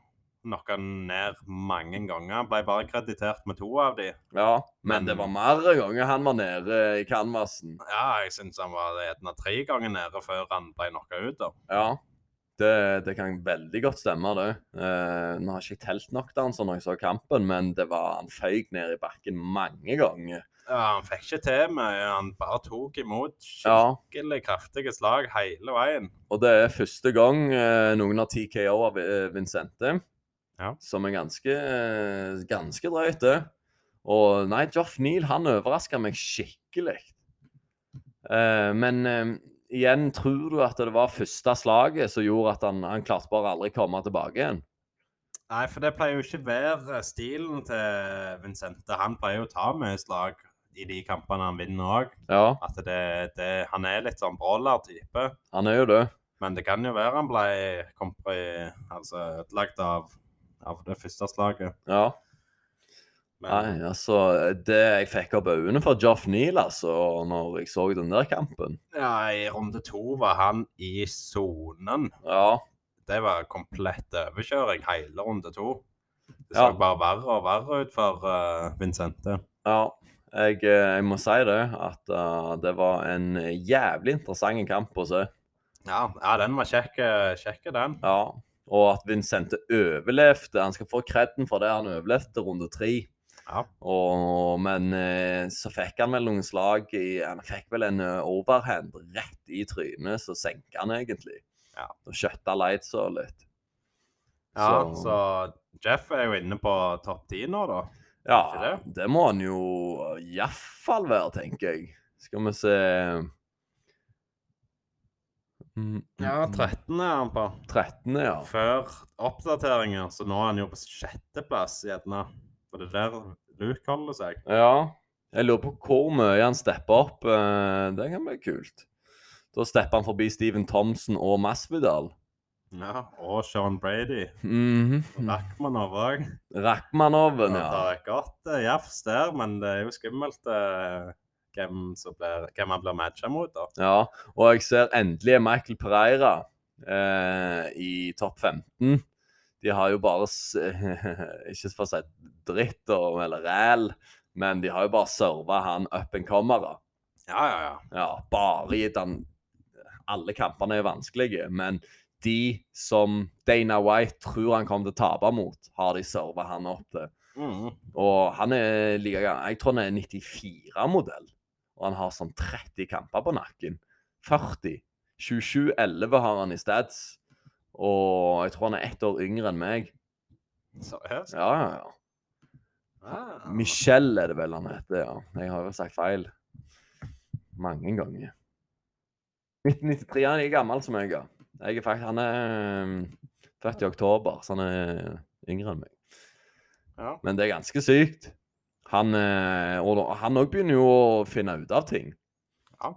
[SPEAKER 2] Knocka han ned mange ganger. Ble bare kreditert med to av de.
[SPEAKER 1] Ja, men
[SPEAKER 2] Men-
[SPEAKER 1] det var mer ganger han var nede i canvasen.
[SPEAKER 2] Ja, jeg syns han var gjerne tre ganger nede før han ble knocka ut. da.
[SPEAKER 1] Ja. Det, det kan veldig godt stemme, det. Eh, nå har jeg ikke telt nok til han sånn når jeg så kampen, men det var han føyk ned i bakken mange ganger.
[SPEAKER 2] Ja, han fikk ikke til mye. Han bare tok imot
[SPEAKER 1] Ja,
[SPEAKER 2] skikkelig kraftige slag hele veien.
[SPEAKER 1] og det er første gang eh, noen har TKO av eh, Vincente,
[SPEAKER 2] Ja.
[SPEAKER 1] som er ganske, eh, ganske drøyt, det. Og nei, Joff Neal, han overraska meg skikkelig. Eh, men eh, igjen, tror du at det var første slaget som gjorde at han, han klarte bare aldri komme tilbake igjen?
[SPEAKER 2] Nei, for det pleier jo ikke være stilen til Vincente. Han pleier jo å ta mye slag i de kampene han vinner òg.
[SPEAKER 1] Ja,
[SPEAKER 2] At det, det, han er litt sånn brawler-type.
[SPEAKER 1] han er jo det.
[SPEAKER 2] Men det kan jo være han ble kompri, altså ødelagt av, av det første slaget.
[SPEAKER 1] Ja.
[SPEAKER 2] Men
[SPEAKER 1] Nei, altså, det jeg fikk opp øynene for Joff Neal, altså, når jeg så den der kampen
[SPEAKER 2] ja, i runde to var han i sonen.
[SPEAKER 1] Ja,
[SPEAKER 2] Det var komplett overkjøring hele runde to. Det så
[SPEAKER 1] Ja.
[SPEAKER 2] bare verre og verre ut for eh, Vincente.
[SPEAKER 1] ja. Jeg, eh, jeg må si det, at eh, det var en jævlig interessant kamp å se.
[SPEAKER 2] Ja, ja den var kjekk, eh, kjekk den.
[SPEAKER 1] Ja. Og at Vincente overlevde. Han skal få kreden for det han overlevde til runde tre.
[SPEAKER 2] Ja.
[SPEAKER 1] Og, men eh, så fikk han vel noen slag i Han fikk vel en eh, overhand rett i trynet, så senka han egentlig.
[SPEAKER 2] Ja.
[SPEAKER 1] Og skjøtta Lightsaw litt.
[SPEAKER 2] Ja, så Jeff er jo inne på topp ti nå, da. ikke
[SPEAKER 1] Ja,
[SPEAKER 2] det?
[SPEAKER 1] det må han jo iallfall være, tenker jeg. Skal vi se Mm, mm, mm.
[SPEAKER 2] 13 er han på.
[SPEAKER 1] 13, ja.
[SPEAKER 2] Før oppdateringer, så nå er han jo på sjetteplass, gjerne. Og det der Luke holder seg.
[SPEAKER 1] Ja. Jeg lurer på hvor mye han stepper opp. eh, Det kan bli kult. Da stepper han forbi Steven Thompson og Masvidal.
[SPEAKER 2] Ja, og Sean Brady.
[SPEAKER 1] Mhm.
[SPEAKER 2] Og Rakhmanov òg. Det
[SPEAKER 1] Rakhmanoven, Sånn, ja.
[SPEAKER 2] er godt eh, jafs der, men det er jo skummelt eh, hvem, som blir, hvem han blir matcha mot, da.
[SPEAKER 1] ja. Og jeg ser endelig Michael Pereira eh, i topp 15. De har jo bare s- Ikke for å si dritt og, eller ræl, men de har jo bare serva han up and comere.
[SPEAKER 2] Ja, ja, ja.
[SPEAKER 1] ja, bare gitt han Alle kampene er vanskelige, men de som Dana White tror han kommer til å tape mot, har de serva han opp til.
[SPEAKER 2] Mhm.
[SPEAKER 1] Og han er like gammel Jeg tror han er 94-modell, og han har sånn 30 kamper på nakken. 40. 27-11 har han i stats. Og jeg tror han er ett år yngre enn meg.
[SPEAKER 2] Seriøst?
[SPEAKER 1] Ja, ja, ja.
[SPEAKER 2] Ah.
[SPEAKER 1] Michelle er det vel han heter, ja. Jeg har jo sagt feil mange ganger. 1993, han er like gammel som meg, ja. Jeg er faktisk, han er øhm, født i oktober, så han er yngre enn meg.
[SPEAKER 2] Ja.
[SPEAKER 1] Men det er ganske sykt. Han eh, og da- han òg begynner jo å finne ut av ting.
[SPEAKER 2] Ja.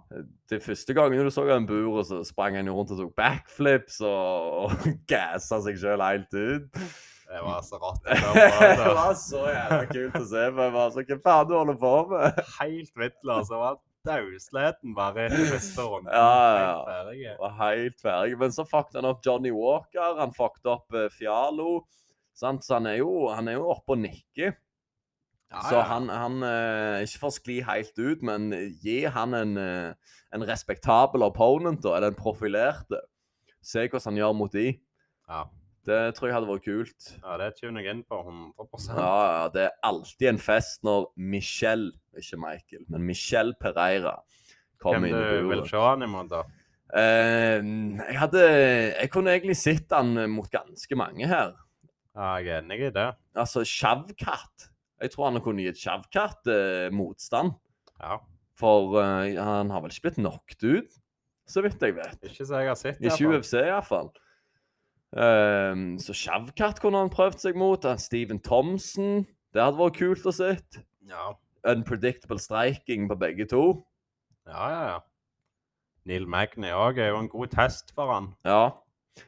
[SPEAKER 1] Det første gangen du så han i buret, så sprang han jo rundt og tok backflips og, og gassa seg sjøl helt ut.
[SPEAKER 2] Det var så rått.
[SPEAKER 1] Det
[SPEAKER 2] Det
[SPEAKER 1] var
[SPEAKER 2] var
[SPEAKER 1] så jævla kult å se på. Jeg var så, Hva faen du holder på med?
[SPEAKER 2] helt vitla, så var dausleten bare i første runde.
[SPEAKER 1] Ja, ja, ja.
[SPEAKER 2] Helt ferdig.
[SPEAKER 1] var helt ferdig. Men så fucket han opp Johnny Walker, han fucket opp eh, Fialo. Sant? Så han er jo, han er jo oppe og nikker.
[SPEAKER 2] Ja,
[SPEAKER 1] Så
[SPEAKER 2] ja.
[SPEAKER 1] han, han eh, Ikke for å skli helt ut, men gi han en, eh, en respektabel opponent, da. Eller en profilerte. Se hvordan han gjør mot de.
[SPEAKER 2] ja.
[SPEAKER 1] Det tror jeg hadde vært kult.
[SPEAKER 2] ja, det tuner jeg inn på 100
[SPEAKER 1] Ja, ja, det er alltid en fest når Michelle, ikke Michael, men Michelle Pereira
[SPEAKER 2] Hvem
[SPEAKER 1] kommer inn i
[SPEAKER 2] du vil
[SPEAKER 1] buret.
[SPEAKER 2] se han imot, da?
[SPEAKER 1] Eh, jeg hadde Jeg kunne egentlig sett han mot ganske mange her.
[SPEAKER 2] Ja, jeg er enig i det.
[SPEAKER 1] Altså Sjavkatt. Jeg tror han kunne gitt Sjavkatt eh, motstand.
[SPEAKER 2] Ja.
[SPEAKER 1] For eh, han har vel ikke blitt knocked ut, så vidt jeg vet.
[SPEAKER 2] Ikke så jeg har sett. i hvert
[SPEAKER 1] Ikke
[SPEAKER 2] fall.
[SPEAKER 1] UFC, iallfall. Um, så Sjavkatt kunne han prøvd seg mot. Han Steven Thompson. Det hadde vært kult å se.
[SPEAKER 2] Ja,
[SPEAKER 1] Unpredictable striking på begge to.
[SPEAKER 2] ja, ja. ja. Neil Magny òg er jo en god test for han.
[SPEAKER 1] Ja.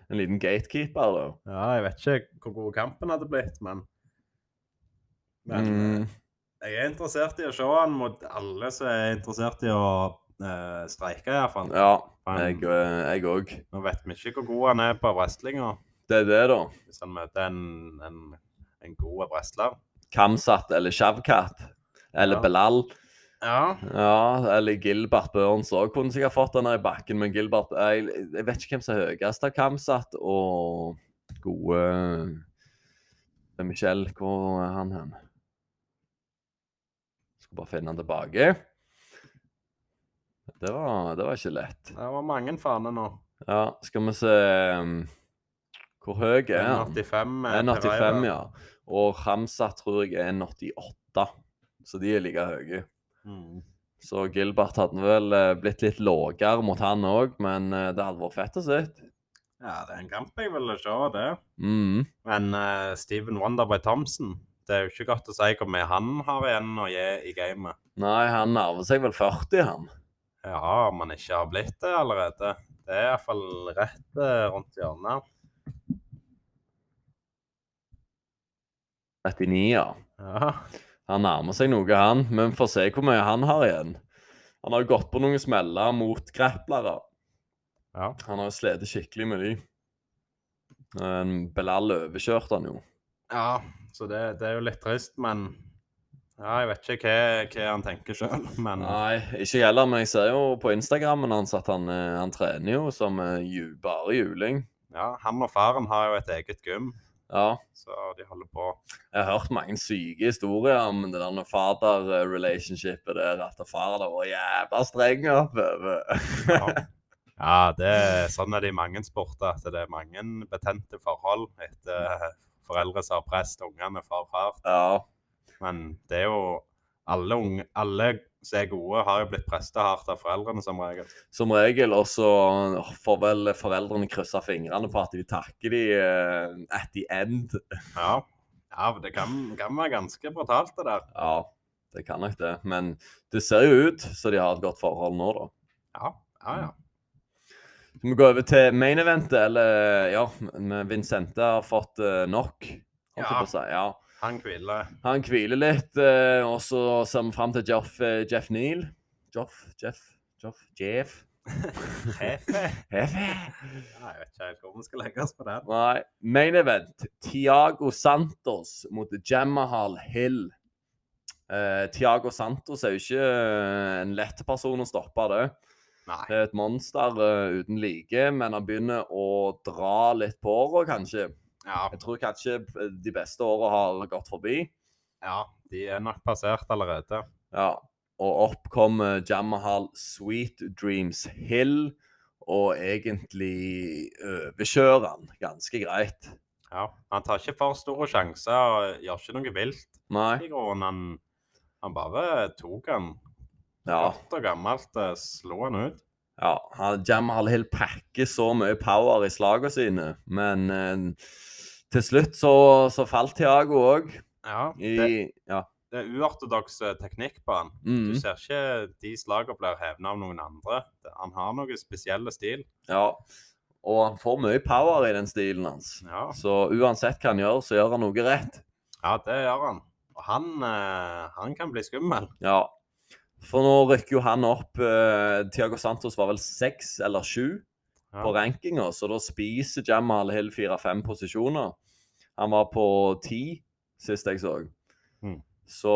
[SPEAKER 1] En liten gatekeeper, da.
[SPEAKER 2] Ja, jeg vet ikke hvor god kampen hadde blitt, men Men
[SPEAKER 1] Mm.
[SPEAKER 2] eh, jeg er interessert i å se han mot alle som er interessert i å eh, streike, iallfall.
[SPEAKER 1] Ja,
[SPEAKER 2] Han-
[SPEAKER 1] jeg eh, jeg òg.
[SPEAKER 2] Nå vet vi ikke hvor god han er på wrestlinga,
[SPEAKER 1] Det er det, da.
[SPEAKER 2] hvis han møter en, en, en god wrestler.
[SPEAKER 1] Kamsat eller Shavkat. Eller
[SPEAKER 2] Ja.
[SPEAKER 1] Belal.
[SPEAKER 2] Ja.
[SPEAKER 1] Ja, eller Gilbert Burns òg kunne sikkert fått den her i bakken, men Gilbert jeg, jeg vet ikke hvem som er høyest av Kamsat og gode Det er Michel, hvor er han hen? Skal bare finne han tilbake. Det var, det var ikke lett.
[SPEAKER 2] Det var mange faner nå.
[SPEAKER 1] Ja, skal vi se um, Hvor høy er han?
[SPEAKER 2] 1,85. eh,
[SPEAKER 1] 1,85,
[SPEAKER 2] Pereira.
[SPEAKER 1] ja. Og Hamza tror jeg er 1,88. Så de er like høye.
[SPEAKER 2] Mm.
[SPEAKER 1] Så Gilbert hadde vel eh, blitt litt lavere mot han òg, men eh, det hadde vært fett å se.
[SPEAKER 2] Ja, det er en kamp jeg ville se, det.
[SPEAKER 1] Mm.
[SPEAKER 2] Men eh, Steven Wonderboy Thompson Det er jo ikke godt å si hvor mye han har igjen å gi i gamet.
[SPEAKER 1] Nei, han nærmer seg vel 40, han.
[SPEAKER 2] Ja, om han ikke har blitt det allerede. Det er iallfall rett eh, rundt hjørnet.
[SPEAKER 1] 39, ja.
[SPEAKER 2] Ja.
[SPEAKER 1] Han nærmer seg noe, han. Men vi får se hvor mye han har igjen. Han har jo gått på noen smeller mot graplere.
[SPEAKER 2] ja.
[SPEAKER 1] Han har jo slitt skikkelig med de. Men Belal overkjørte han jo.
[SPEAKER 2] ja så det, det er jo litt trist, men ja, Jeg vet ikke hva, hva han tenker sjøl, men
[SPEAKER 1] Nei, ikke jeg heller, men jeg ser jo på Instagrammen hans at han, eh, han trener jo som eh, ju, bare juling.
[SPEAKER 2] ja, han og faren har jo et eget gym,
[SPEAKER 1] Ja.
[SPEAKER 2] så de holder på.
[SPEAKER 1] Jeg har hørt mange syke historier om det der fader-relationshipet der, at far der var jævla streng oppover.
[SPEAKER 2] Ja, ja det, sånn er det i mange sporter. At det er mange betente forhold etter foreldre som har presset ungene for hardt.
[SPEAKER 1] Ja,
[SPEAKER 2] Men det er jo alle, unge, alle som er gode, har jo blitt presta hardt av foreldrene som regel.
[SPEAKER 1] som regel. Og så får vel foreldrene kryssa fingrene på at de takker de eh, at the end.
[SPEAKER 2] Ja. Ja, for det kan, kan være ganske brutalt, det der.
[SPEAKER 1] Ja, det kan nok det. Men det ser jo ut så de har et godt forhold nå, da.
[SPEAKER 2] Ja, ja, ja.
[SPEAKER 1] Skal vi gå over til main eventet, eller Ja, men Vincente har fått eh, nok. holdt jeg
[SPEAKER 2] Ja.
[SPEAKER 1] på å si. ja.
[SPEAKER 2] Han hviler.
[SPEAKER 1] Han hviler litt, eh, og så ser vi fram til Jeff, eh, Jeff Neal. Jeff, Jeff, Jeff, Jeff.
[SPEAKER 2] Hefe.
[SPEAKER 1] Jeff.
[SPEAKER 2] Ja, jeg vet ikke helt hvor vi skal legge oss på den.
[SPEAKER 1] Nei. Main event. Tiago Santos mot Jamahal Hill. Eh, Tiago Santos er jo ikke eh, en lett person å stoppe, det.
[SPEAKER 2] Nei.
[SPEAKER 1] Det er et monster eh, uten like, men han begynner å dra litt på åra, kanskje.
[SPEAKER 2] Ja,
[SPEAKER 1] Jeg tror kanskje eh, de beste åra har gått forbi.
[SPEAKER 2] ja, de er nok passert allerede.
[SPEAKER 1] Ja. Og opp kom eh, Jamahal Sweet Dreams Hill, og egentlig overkjører han ganske greit.
[SPEAKER 2] Ja, Han tar ikke for store sjanser og gjør ikke noe vilt.
[SPEAKER 1] Nei.
[SPEAKER 2] I grunnen han, han bare tok han.
[SPEAKER 1] Ja.
[SPEAKER 2] Godt og gammelt eh, slo han ut.
[SPEAKER 1] ja. han- Jamahal Hill pakker så mye power i slagene sine, men eh, til slutt så, så falt Tiago òg.
[SPEAKER 2] Ja, det,
[SPEAKER 1] I Ja.
[SPEAKER 2] det er uortodoks eh, teknikk på han. Du
[SPEAKER 1] Mm,
[SPEAKER 2] ser ikke de slagene blir hevna av noen andre. Det- Han har noe spesielle stil.
[SPEAKER 1] ja. Og han får mye power i den stilen hans.
[SPEAKER 2] Ja,
[SPEAKER 1] Så uansett hva han gjør, så gjør han noe rett.
[SPEAKER 2] ja det gjør han. Og han, eh, han kan bli skummel.
[SPEAKER 1] Ja. For nå rykker jo han opp eh, Tiago Santos var vel seks eller sju
[SPEAKER 2] Ja.
[SPEAKER 1] på rankinga, så da spiser Jamal Hill fire-fem posisjoner. Han var på ti sist jeg så.
[SPEAKER 2] Mm.
[SPEAKER 1] Så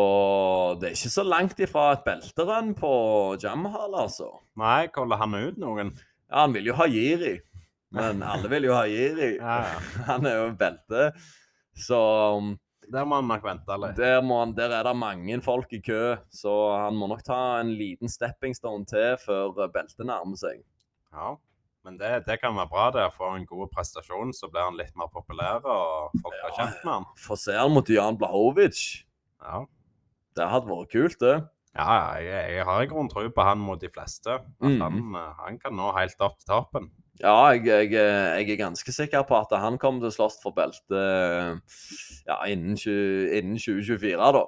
[SPEAKER 1] det er ikke så langt ifra et belterønn på Jamal, altså.
[SPEAKER 2] Nei, kaller han ut noen?
[SPEAKER 1] Ja, han vil jo ha Jiri, men alle vil jo ha Jiri.
[SPEAKER 2] Ja, ja.
[SPEAKER 1] Han er jo belte. Så um,
[SPEAKER 2] Der må han nok vente litt.
[SPEAKER 1] Der, må han, der er det mange folk i kø, så han må nok ta en liten stepping stone til før eh, beltet nærmer seg.
[SPEAKER 2] Ja. Men det, det kan være bra. det. Får han en god prestasjon, så blir han litt mer populær, og folk blir
[SPEAKER 1] Ja.
[SPEAKER 2] kjent med han.
[SPEAKER 1] For ser han mot Jan Blahovic,
[SPEAKER 2] Ja,
[SPEAKER 1] det hadde vært kult, det.
[SPEAKER 2] ja ja, jeg, jeg har i grunnen tro på han mot de fleste. At
[SPEAKER 1] Mm.
[SPEAKER 2] han, eh, han kan nå helt opp til toppen.
[SPEAKER 1] Ja, jeg, jeg, eh, jeg er ganske sikker på at han kommer til å slåss for beltet eh, ja, innen, 20, innen 2024, da.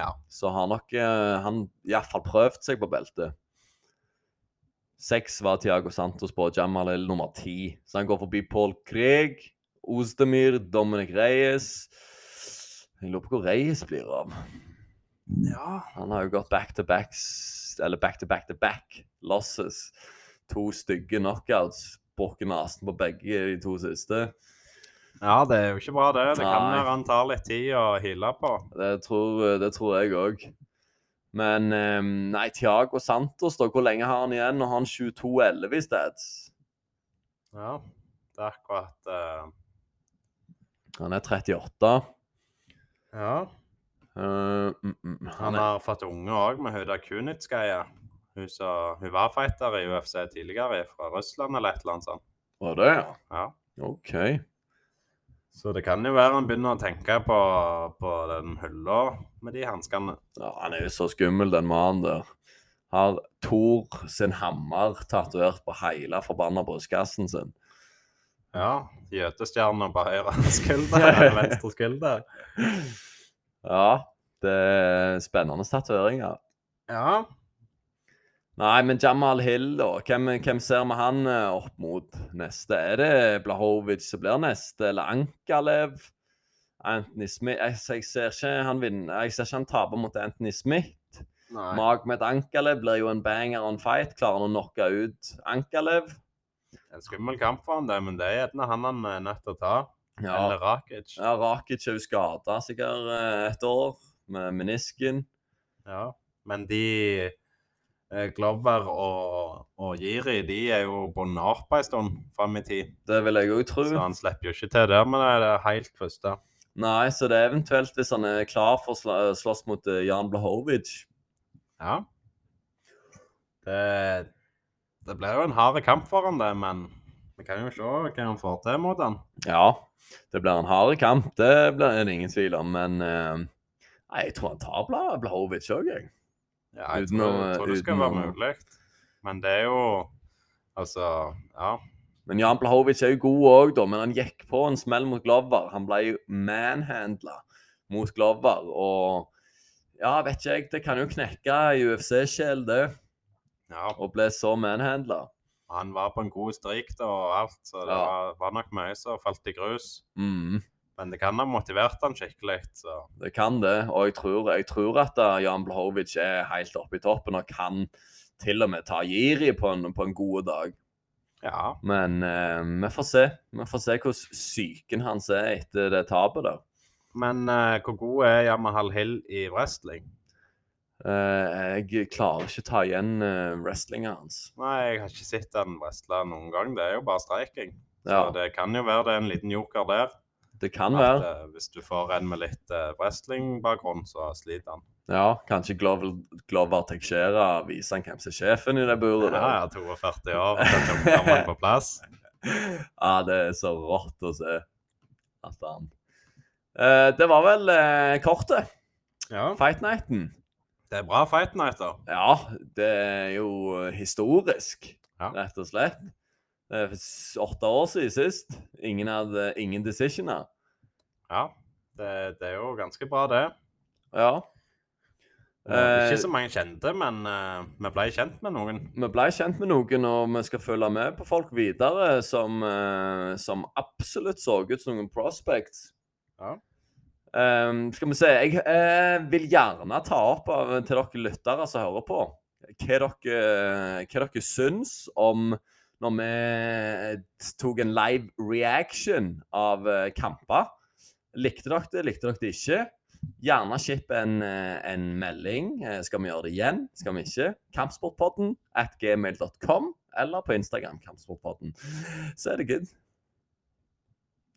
[SPEAKER 2] Ja.
[SPEAKER 1] Så har nok eh, han iallfall prøvd seg på beltet. Seks var Tiago Santos på Jamal El nummer ti. Så han går forbi Paul Krieg, Ozdemir, Dominic Reyes Jeg lurer på hvor Reyes blir av.
[SPEAKER 2] ja.
[SPEAKER 1] Han har jo gått back to back Eller back to back to back losses. To stygge knockouts. Brukket nesen på begge de to siste.
[SPEAKER 2] Ja, det er jo ikke bra, det. Det kan
[SPEAKER 1] Nei.
[SPEAKER 2] være han tar litt tid å heale på.
[SPEAKER 1] Det tror, det tror jeg òg. Men eh, nei, Tiago Santos, da, hvor lenge har han igjen? Nå har han 22-11 i sted.
[SPEAKER 2] Ja, det er akkurat eh,
[SPEAKER 1] Han er 38.
[SPEAKER 2] Ja.
[SPEAKER 1] Eh, mm, mm,
[SPEAKER 2] Han
[SPEAKER 1] han er,
[SPEAKER 2] har fått unge òg, med Huda Kunitskaya. Hun, som- hun var fighter i UFC tidligere, fra Russland eller et eller annet sånt.
[SPEAKER 1] var det, ja?
[SPEAKER 2] Ja.
[SPEAKER 1] OK.
[SPEAKER 2] Så det kan jo være han begynner å tenke på, på den hylla med de hanskene.
[SPEAKER 1] Ja, han er jo så skummel, den mannen der. Har Thor sin hammer tatovert på hele forbanna brystkassen sin.
[SPEAKER 2] Ja. Jøtestjerna på høyre skulder eller venstre skulder.
[SPEAKER 1] Ja, det er spennende tatoveringer.
[SPEAKER 2] Ja.
[SPEAKER 1] Nei, men Jamal Hill, da. Hvem, hvem ser vi han eh, opp mot neste? Er det Blahovic som blir neste, eller Ankalev? Anthony Smith Jeg, jeg ser ikke han vinner. Jeg ser ikke han taper mot Anthony Smith.
[SPEAKER 2] Nei.
[SPEAKER 1] Magmed Ankalev blir jo en banger on fight. Klarer han å knocke ut Ankalev?
[SPEAKER 2] En skummel kamp for han det, men det er gjerne han han er nødt til å ta.
[SPEAKER 1] Ja.
[SPEAKER 2] Eller Rakic.
[SPEAKER 1] ja Rakic er jo skada sikkert eh, et år, med menisken.
[SPEAKER 2] Ja. Men de eh, Glover og, og Jiri de er jo bundet opp en stund fram i tid.
[SPEAKER 1] Det vil jeg òg tro.
[SPEAKER 2] Så han slipper jo ikke til der, men det er det helt første.
[SPEAKER 1] Nei, så det er eventuelt hvis han er klar for å slå, slåss mot eh, Jan Blahovic.
[SPEAKER 2] Ja. Det, det blir jo en hard kamp for han det, men vi kan jo se hva han får til mot han.
[SPEAKER 1] Ja, det blir en hard kamp, det blir det ingen tvil om. Men eh, nei, jeg tror han tar Bla- Blahovic òg, jeg.
[SPEAKER 2] Ja, jeg
[SPEAKER 1] Uten
[SPEAKER 2] tror,
[SPEAKER 1] å-
[SPEAKER 2] jeg tror det skal
[SPEAKER 1] uten
[SPEAKER 2] være
[SPEAKER 1] å-
[SPEAKER 2] mulig. Men det er jo Altså, ja.
[SPEAKER 1] Men Jan Blahovic er jo god òg, da. Men han gikk på en smell mot Glover. Han ble jo manhandla mot Glover. Og ja, vet ikke jeg. Det kan jo knekke i UFC-sjel, det.
[SPEAKER 2] Ja,
[SPEAKER 1] Å bli så manhandla.
[SPEAKER 2] han var på en god strik da og alt, så det
[SPEAKER 1] Ja.
[SPEAKER 2] var, var nok mye som falt i grus.
[SPEAKER 1] Mm,
[SPEAKER 2] Men det kan ha motivert han skikkelig, så
[SPEAKER 1] det kan det. Og jeg tror, jeg tror at eh, Jan Blahovic er helt oppe i toppen og kan til og med ta Jiri på en, på en god dag.
[SPEAKER 2] ja.
[SPEAKER 1] Men eh, vi får se. Vi får se hvordan psyken hans er etter det tapet der.
[SPEAKER 2] Men eh, hvor god er Yamahal Hill i wrestling?
[SPEAKER 1] Eh, jeg klarer ikke å ta igjen eh, wrestlinga hans.
[SPEAKER 2] Nei, jeg har ikke sett han wrestle noen gang. Det er jo bare streiking. Så
[SPEAKER 1] Ja,
[SPEAKER 2] det kan jo være det er en liten joker der.
[SPEAKER 1] det kan
[SPEAKER 2] At,
[SPEAKER 1] være.
[SPEAKER 2] eh, hvis du får en med litt eh, wrestling-bakgrunn, så sliter han.
[SPEAKER 1] Ja, Kanskje Glover, Glover Teixeira viser han hvem som er sjefen i det buret.
[SPEAKER 2] Ja,
[SPEAKER 1] der.
[SPEAKER 2] ja, 42 år, og så kommer han på plass.
[SPEAKER 1] Ja, det er så rått å se. At han Eh, Det var vel eh, kortet.
[SPEAKER 2] Ja,
[SPEAKER 1] Fight Nighten.
[SPEAKER 2] det er bra fight night, da.
[SPEAKER 1] Ja, det er jo historisk,
[SPEAKER 2] Ja.
[SPEAKER 1] rett og slett. Det er s- åtte år siden sist. Ingen hadde ingen decisioner.
[SPEAKER 2] Ja, det, det er jo ganske bra, det.
[SPEAKER 1] Ja.
[SPEAKER 2] Det er
[SPEAKER 1] Eh,
[SPEAKER 2] Ikke så mange kjente, men eh, vi ble kjent med noen.
[SPEAKER 1] vi ble kjent med noen, og vi skal følge med på folk videre som, eh, som absolutt så ut som noen prospects.
[SPEAKER 2] Ja.
[SPEAKER 1] Ehm, skal vi se Jeg eh, vil gjerne ta opp av, til dere lyttere som hører på, hva dere, hva dere syns om når vi tok en live reaction av eh, kamper. Likte dere det, likte dere det ikke? Gjerne skipp en, eh, en melding. Eh, Skal vi gjøre det igjen? Skal vi ikke? Kampsportpodden at gmail.com eller på Instagram kampsportpodden. Så er det good.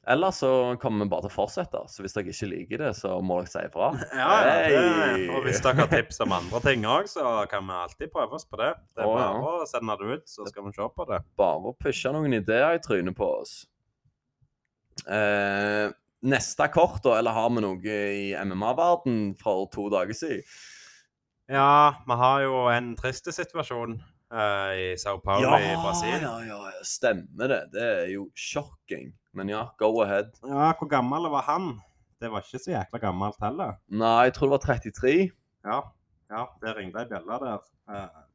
[SPEAKER 1] Eller så kommer vi bare til å fortsette. Så hvis dere ikke liker det, så må dere si ifra.
[SPEAKER 2] Ja, ja, det,
[SPEAKER 1] Hey.
[SPEAKER 2] og hvis dere har tips om andre ting òg, så kan vi alltid prøve oss på det. Det er
[SPEAKER 1] Å, ja.
[SPEAKER 2] bare å sende det ut, så skal vi se på det.
[SPEAKER 1] Bare å pushe noen ideer i trynet på oss. Eh, neste kort, da, eller har vi noe i MMA-verden fra to dager siden?
[SPEAKER 2] Ja, vi har jo en trist situasjon eh, i Sao Paulo i Brasil.
[SPEAKER 1] ja, ja, ja, stemmer det. Det er jo shocking. Men ja, go ahead.
[SPEAKER 2] Ja, hvor gammel var han? Det var ikke så jækla gammelt heller.
[SPEAKER 1] Nei, jeg tror det var 33.
[SPEAKER 2] Ja, ja det ringte ei bjelle der. Eh,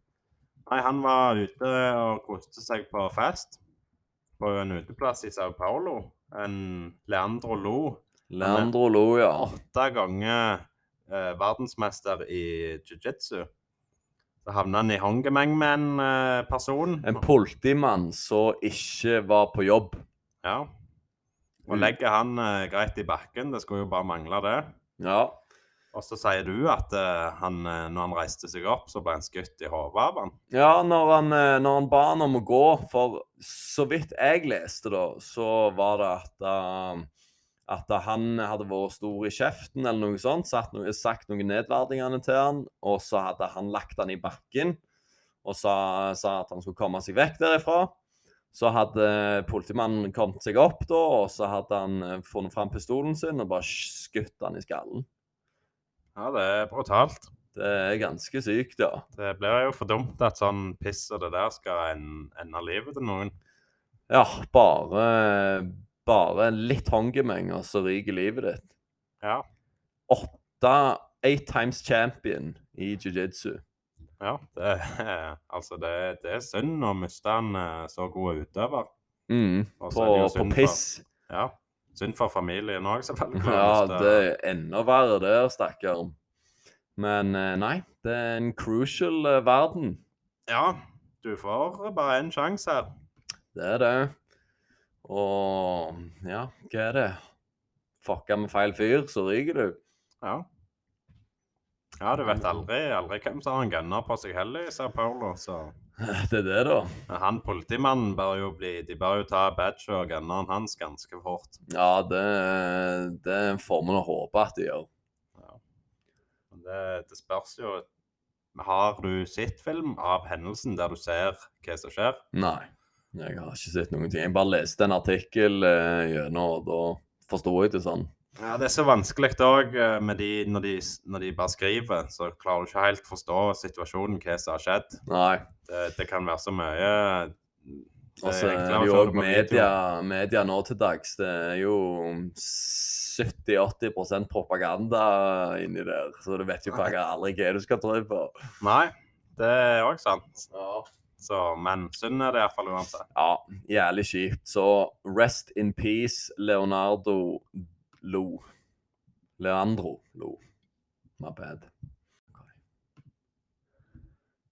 [SPEAKER 2] nei, han var ute og koste seg på fest på en uteplass i Sao Paulo. En Leandro Lo.
[SPEAKER 1] Leandro lo, ja.
[SPEAKER 2] åtte ganger eh, verdensmester i jiu-jitsu. Så havna han i håndgemeng med en eh, person.
[SPEAKER 1] En politimann som ikke var på jobb.
[SPEAKER 2] Ja. Og
[SPEAKER 1] Mm.
[SPEAKER 2] legger han eh, greit i bakken, det skulle jo bare mangle det.
[SPEAKER 1] Ja.
[SPEAKER 2] Og så sier du at eh, han, eh, når han reiste seg opp, så ble han skutt i hodet av han.
[SPEAKER 1] Ja, når han, eh, når han ba han om å gå, for så vidt jeg leste, da, så var det at eh, at han hadde vært stor i kjeften eller noe sånt, satt noe, sagt noen nedverdingene til han, og så hadde han lagt han i bakken og sa, sa at han skulle komme seg vekk derifra. Så hadde politimannen kommet seg opp da, og så hadde han eh, funnet fram pistolen sin og bare skutt han i skallen.
[SPEAKER 2] Ja, det er brutalt.
[SPEAKER 1] Det er ganske sykt, ja.
[SPEAKER 2] Det blir jo for dumt at sånn piss og det der skal en, ende livet til noen.
[SPEAKER 1] Ja, bare, bare litt håndgemeng, og så ryker livet ditt.
[SPEAKER 2] Ja.
[SPEAKER 1] Åtte eight times champion i jiu-jitsu.
[SPEAKER 2] Ja, det, altså det, det er synd å miste en eh, så god utøver.
[SPEAKER 1] Mm,
[SPEAKER 2] Og så
[SPEAKER 1] på,
[SPEAKER 2] er det jo
[SPEAKER 1] på
[SPEAKER 2] synd for-
[SPEAKER 1] piss.
[SPEAKER 2] Ja. Synd for familien òg, selvfølgelig.
[SPEAKER 1] Ja,
[SPEAKER 2] Hvis
[SPEAKER 1] det er enda verre der, stakkaren. Men eh, nei, det er en crucial eh, verden.
[SPEAKER 2] ja, du får bare én sjanse her.
[SPEAKER 1] Det er det. Og ja, hva er det? Fucka med feil fyr, så ryker du.
[SPEAKER 2] Ja. ja, du vet aldri, aldri hvem som har en gunner på seg heller i Sao Paulo. Så.
[SPEAKER 1] Det er det, da.
[SPEAKER 2] Men han politimannen bør jo bli De bør jo ta badge og gunneren hans ganske fort.
[SPEAKER 1] Ja, det, det får vi nå håpe at de gjør.
[SPEAKER 2] Men det, det spørs jo Har du sett film av hendelsen der du ser hva som skjer?
[SPEAKER 1] Nei, jeg har ikke sett noen ting. Jeg bare leste en artikkel eh, gjennom, og da forsto jeg det sånn.
[SPEAKER 2] Ja, det er så vanskelig òg når, de, når de bare skriver, så klarer du ikke helt forstå situasjonen, hva som har skjedd.
[SPEAKER 1] Nei.
[SPEAKER 2] Det, det kan være så mye
[SPEAKER 1] Og så er det Altså,
[SPEAKER 2] Det er enklere å
[SPEAKER 1] eh, jo
[SPEAKER 2] få
[SPEAKER 1] òg
[SPEAKER 2] det på
[SPEAKER 1] media, media nå til dags. Det er jo 70-80 propaganda inni der, så du vet jo faktisk aldri hva du skal tro på.
[SPEAKER 2] Nei, det er òg sant.
[SPEAKER 1] Ja.
[SPEAKER 2] Så, men synd er det iallfall uansett.
[SPEAKER 1] ja, jævlig kjipt. Så rest in peace, Leonardo Lo. Leandro Lo. My bad.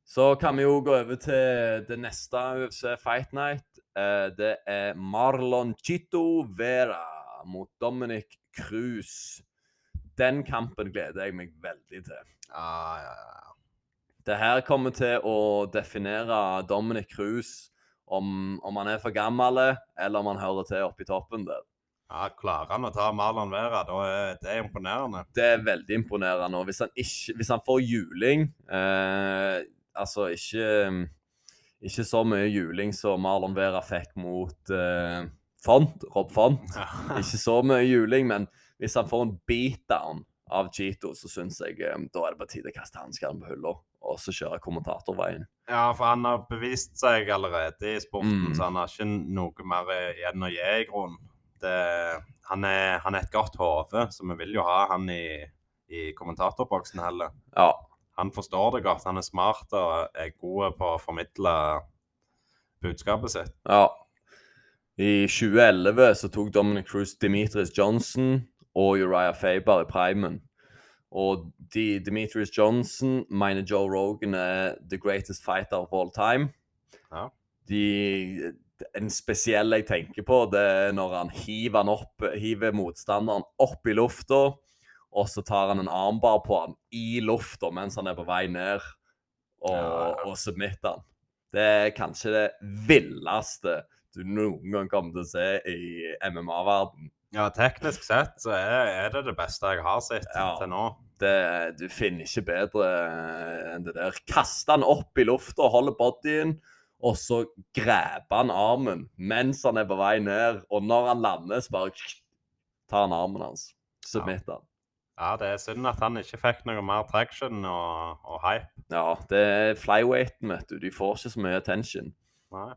[SPEAKER 1] Så kan vi jo gå over til det neste UFC Fight Night. Eh, Det er Marlon Chito Vera mot Dominic Cruz. Den kampen gleder jeg meg veldig til.
[SPEAKER 2] Ja, ja, ja.
[SPEAKER 1] Det her kommer til å definere Dominic Cruz om, om han er for gammel, eller om han hører til oppe i toppen der.
[SPEAKER 2] ja Klarer han å ta Marlon Vera, da er det imponerende.
[SPEAKER 1] Det er veldig imponerende. Og hvis han, ikke, hvis han får juling eh, Altså ikke, ikke så mye juling som Marlon Vera fikk mot eh, Font, Rob Font. Ikke så mye juling, men hvis han får en beatdown av Cheeto, så syns jeg eh, da er det på tide å kaste hanskene på hylla og så kjøre kommentatorveien.
[SPEAKER 2] Ja, for han har bevist seg allerede i sporten,
[SPEAKER 1] Mm.
[SPEAKER 2] så han har ikke noe mer eh, igjen å gi, i grunnen. Det- Han er han er et godt hode, så vi vil jo ha han i, i kommentatorboksen heller.
[SPEAKER 1] Ja,
[SPEAKER 2] Han forstår det godt, han er smart og er god på å formidle budskapet sitt.
[SPEAKER 1] Ja. I 2011 så tok Dominic Cruz Demetrius Johnson og Uriah Faber i primen. Og de, Demetrius Johnson mener Joe Rogan er the greatest fighter of all time.
[SPEAKER 2] Ja.
[SPEAKER 1] De, en spesiell jeg tenker på, det er når han hiver, han opp, hiver motstanderen opp i lufta, og så tar han en armbar på han i lufta mens han er på vei ned, og,
[SPEAKER 2] Ja, ja.
[SPEAKER 1] og submitter han. Det er kanskje det villeste du noen gang kommer til å se i MMA-verden.
[SPEAKER 2] Ja, teknisk sett så er, er det det beste jeg har sett
[SPEAKER 1] Ja.
[SPEAKER 2] til nå.
[SPEAKER 1] Det- Du finner ikke bedre eh, enn det der. Kaste han opp i lufta og holde bodyen, og så grabe han armen mens han er på vei ned, og når han lander, så bare tar han armen hans. Submit han.
[SPEAKER 2] Ja, det er synd at han ikke fikk noe mer traction og, og hype.
[SPEAKER 1] Ja, det er flyweighten, vet du. De får ikke så mye attention.
[SPEAKER 2] Nei.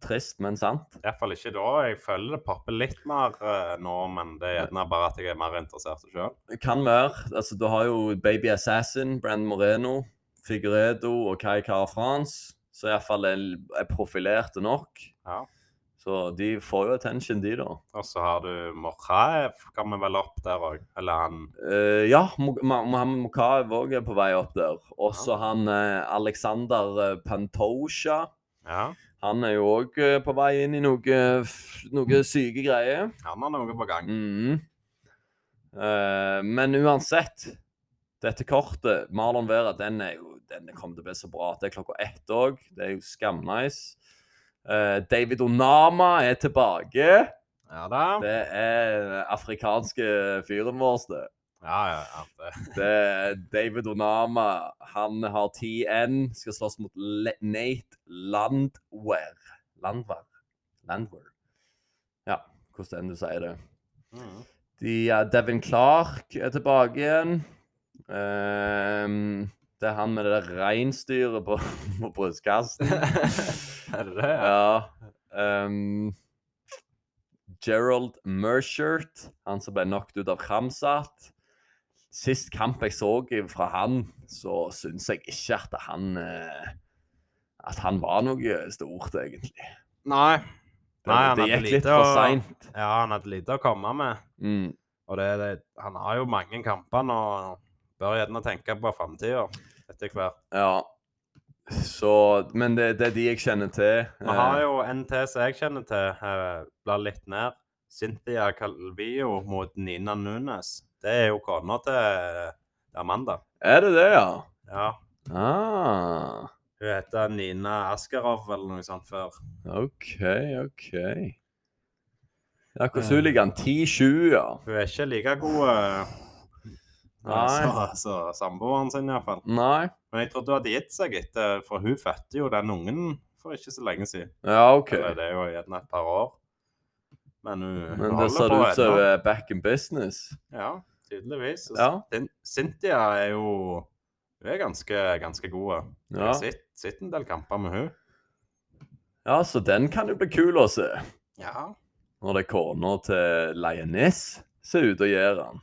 [SPEAKER 1] Trist, men sant.
[SPEAKER 2] Iallfall ikke da. Jeg føler det popper litt mer eh, nå, men det er gjerne bare at jeg er mer interessert sjøl.
[SPEAKER 1] Kan være. Altså, du har jo Baby Assassin, Brand Moreno, Figueredo og Kai Cara France, som iallfall er, er profilerte nok.
[SPEAKER 2] Ja.
[SPEAKER 1] Så de får jo attention, de, da.
[SPEAKER 2] Og så har du Morchaev, kan vi vel opp der òg. Eller han
[SPEAKER 1] Eh, ja, Mo- Ma- Mohammed Mokaev òg er på vei opp der. Også han eh, Alexander eh, Pantosha.
[SPEAKER 2] Ja,
[SPEAKER 1] Han er jo òg eh, på vei inn i noe, eh, f- noe syke greier.
[SPEAKER 2] han har noe på gang.
[SPEAKER 1] Mhm. Eh, men uansett, dette kortet, Marlon Vera, den er jo den kommer til å bli så bra. Det er klokka ett òg. Det er jo skamnice. Eh, David Onama er tilbake.
[SPEAKER 2] Ja da.
[SPEAKER 1] Det er eh, afrikanske fyren vår, det.
[SPEAKER 2] Ja, ja, ja. Det.
[SPEAKER 1] Det er David Onama. Han har 10-1, skal slåss mot Le Nate Landwehr. Landwehr? Landwehr. Ja, hvordan enn du sier det.
[SPEAKER 2] Mm.
[SPEAKER 1] De, ja, Devin Clark er tilbake igjen. Ehm, det er han med det der reinsdyret på, på brystkassen.
[SPEAKER 2] er det det?
[SPEAKER 1] ja. ehm, Gerald Merchert, han som ble knocked ut av Kramsat. Sist kamp jeg så i- fra han, så syns jeg ikke at han eh, At han var noe stort, egentlig. Det,
[SPEAKER 2] Nei. Nei, han
[SPEAKER 1] det
[SPEAKER 2] hadde
[SPEAKER 1] gikk litt
[SPEAKER 2] lite
[SPEAKER 1] for
[SPEAKER 2] å-
[SPEAKER 1] seint.
[SPEAKER 2] Ja, han hadde lite å komme med.
[SPEAKER 1] Mm.
[SPEAKER 2] Og det, det, han har jo mange kamper nå. Bør gjerne tenke på framtida etter hvert.
[SPEAKER 1] Ja. Så Men det, det er de jeg kjenner til. Eh,
[SPEAKER 2] Vi har jo en til som jeg kjenner til, eh, blar litt ned. Cynthia Calvillo mot Nina Nunes. Det er jo kona til Amanda.
[SPEAKER 1] Eh, Er det det, ja?
[SPEAKER 2] Ja.
[SPEAKER 1] Ah,
[SPEAKER 2] Hun heter Nina Askarov eller noe sånt før.
[SPEAKER 1] OK, OK. Ja,
[SPEAKER 2] Eh.
[SPEAKER 1] hvordan ligger han? 10-7, ja.
[SPEAKER 2] Hun er ikke like god eh,
[SPEAKER 1] Nei.
[SPEAKER 2] som som samboeren sin, iallfall.
[SPEAKER 1] Nei.
[SPEAKER 2] Men jeg trodde hun hadde gitt seg etter, for hun fødte jo den ungen for ikke så lenge siden.
[SPEAKER 1] Ja, OK.
[SPEAKER 2] Eller det er jo gjerne et par år. Men hun, hun
[SPEAKER 1] Men
[SPEAKER 2] holder
[SPEAKER 1] det ser
[SPEAKER 2] på
[SPEAKER 1] ut som
[SPEAKER 2] ennå.
[SPEAKER 1] eh, back in business.
[SPEAKER 2] Ja, tydeligvis. Og
[SPEAKER 1] Ja.
[SPEAKER 2] Cyn- Cynthia er jo Hun er ganske, ganske god. Jeg
[SPEAKER 1] Ja.
[SPEAKER 2] har sett- sett en del kamper med hun.
[SPEAKER 1] Ja, så den kan jo bli kul å se.
[SPEAKER 2] Ja.
[SPEAKER 1] Når det er kona til Lioness ser ut og gjør den.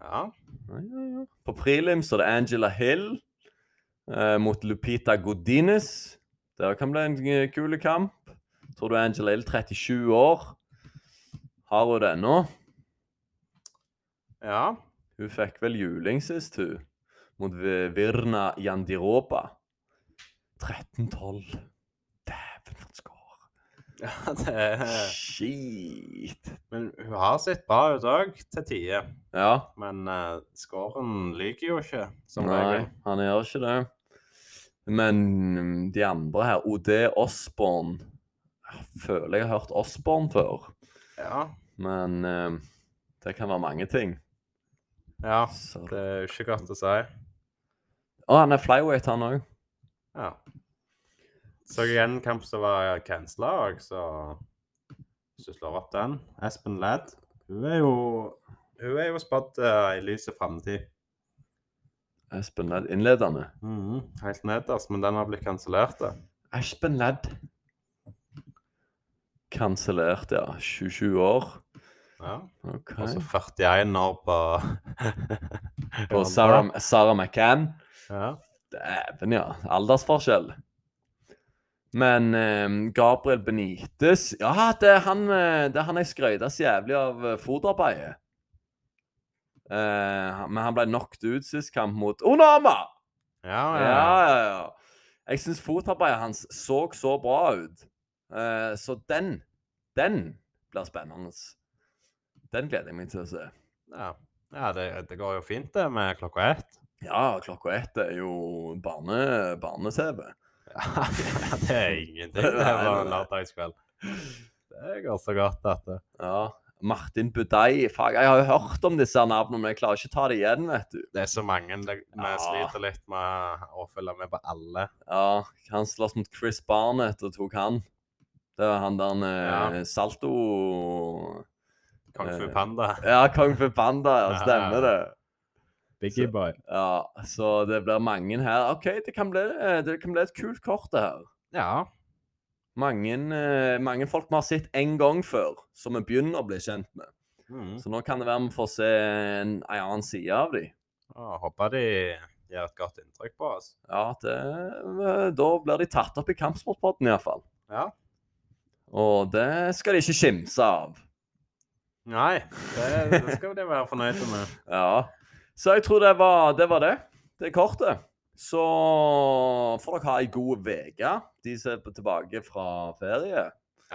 [SPEAKER 2] ja.
[SPEAKER 1] Ja, ja, ja. På prelims så er det Angela Hill eh, mot Lupita Godinez. Det kan bli en eh, kul kamp. Tror du Angela Hill 37 år? Har hun det ennå?
[SPEAKER 2] Ja.
[SPEAKER 1] Hun fikk vel juling sist, hun. Mot Vi- Virna Jandiroba. 13-12. Dæven, for et skår.
[SPEAKER 2] ja det er...
[SPEAKER 1] Shit.
[SPEAKER 2] Men hun har sett bra ut òg, til tider.
[SPEAKER 1] Ja.
[SPEAKER 2] Men uh, scoren lyver jo ikke, som
[SPEAKER 1] Nei,
[SPEAKER 2] regel.
[SPEAKER 1] han gjør ikke det. Men mm, de andre her OD Osborn Jeg føler jeg har hørt Osborn før.
[SPEAKER 2] Ja.
[SPEAKER 1] Men eh, det kan være mange ting.
[SPEAKER 2] ja.
[SPEAKER 1] Så...
[SPEAKER 2] Det er jo ikke godt å si.
[SPEAKER 1] Å, han er flyweight, han òg.
[SPEAKER 2] Ja. Så jeg igjen en kamp som var cancela, og så Hvis du slår opp den Espen Ladd. Hun er jo Hun er jo spådd eh, i lyset framtid.
[SPEAKER 1] Espen Ladd innledende.
[SPEAKER 2] Mhm, Helt nederst, men den har blitt kansellert. da.
[SPEAKER 1] Espen Ladd. Kansellert, ja. 27 år.
[SPEAKER 2] Ja.
[SPEAKER 1] OK.
[SPEAKER 2] Og så 41 år på
[SPEAKER 1] Og Sarah, Sarah McCann.
[SPEAKER 2] Ja.
[SPEAKER 1] Dæven, ja. Aldersforskjell. Men eh, Gabriel Benitez Ja, det er han, eh, det er han jeg skrøyta så jævlig av eh, fotarbeidet. Eh, han- men han ble knocked ut sist kamp mot Onama!
[SPEAKER 2] Ja,
[SPEAKER 1] Ja,
[SPEAKER 2] ja.
[SPEAKER 1] ja, ja. Jeg syns fotarbeidet hans så så bra ut. Eh, så den, den blir spennende. Den gleder jeg meg til å se.
[SPEAKER 2] ja. ja det, det går jo fint, det, med klokka ett.
[SPEAKER 1] Ja, klokka ett er jo barne- barne-TV.
[SPEAKER 2] Ja, det er ingenting.
[SPEAKER 1] Nei,
[SPEAKER 2] Det
[SPEAKER 1] nei,
[SPEAKER 2] var en
[SPEAKER 1] nei.
[SPEAKER 2] lørdagskveld. Det går så godt, dette.
[SPEAKER 1] Ja. Martin Budei. Fuck, jeg har jo hørt om disse her navnene, men jeg klarer ikke å ta det igjen, vet du.
[SPEAKER 2] Det er så mange det, vi
[SPEAKER 1] Ja.
[SPEAKER 2] sliter litt med å følge med på alle.
[SPEAKER 1] Ja, Han sloss mot Chris Barnett og tok han. Det var han der eh, Salto
[SPEAKER 2] Kung fu
[SPEAKER 1] Eh,
[SPEAKER 2] panda.
[SPEAKER 1] Ja, Kong Forbanda, ja. Stemmer det.
[SPEAKER 3] Biggie Boy.
[SPEAKER 1] Ja, Så det blir mange her. OK, det kan bli, eh, det kan bli et kult kort, det her.
[SPEAKER 2] Ja.
[SPEAKER 1] Mange, eh, mange folk vi har sett én gang før, som vi begynner å bli kjent med.
[SPEAKER 2] Mm.
[SPEAKER 1] Så nå kan det være vi får se en, en annen side av dem.
[SPEAKER 2] Og håper de gjør et godt inntrykk på oss.
[SPEAKER 1] Ja, det, da blir de tatt opp i kampsportpodden iallfall.
[SPEAKER 2] Ja.
[SPEAKER 1] Og det skal de ikke skimse av.
[SPEAKER 2] Nei, det, det skal de være fornøyde med.
[SPEAKER 1] Ja. Så jeg tror det var det. var det. Det er kortet. Så får dere ha ei god uke, de som er på- tilbake fra ferie.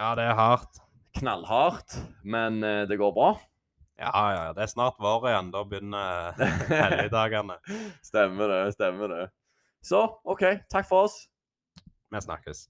[SPEAKER 2] Ja, det er hardt.
[SPEAKER 1] Knallhardt, men eh, det går bra.
[SPEAKER 2] Ja, ja, ja. Det er snart vår igjen. Da begynner helligdagene.
[SPEAKER 1] Stemmer det, stemmer det. Så OK, takk for oss.
[SPEAKER 2] Vi snakkes.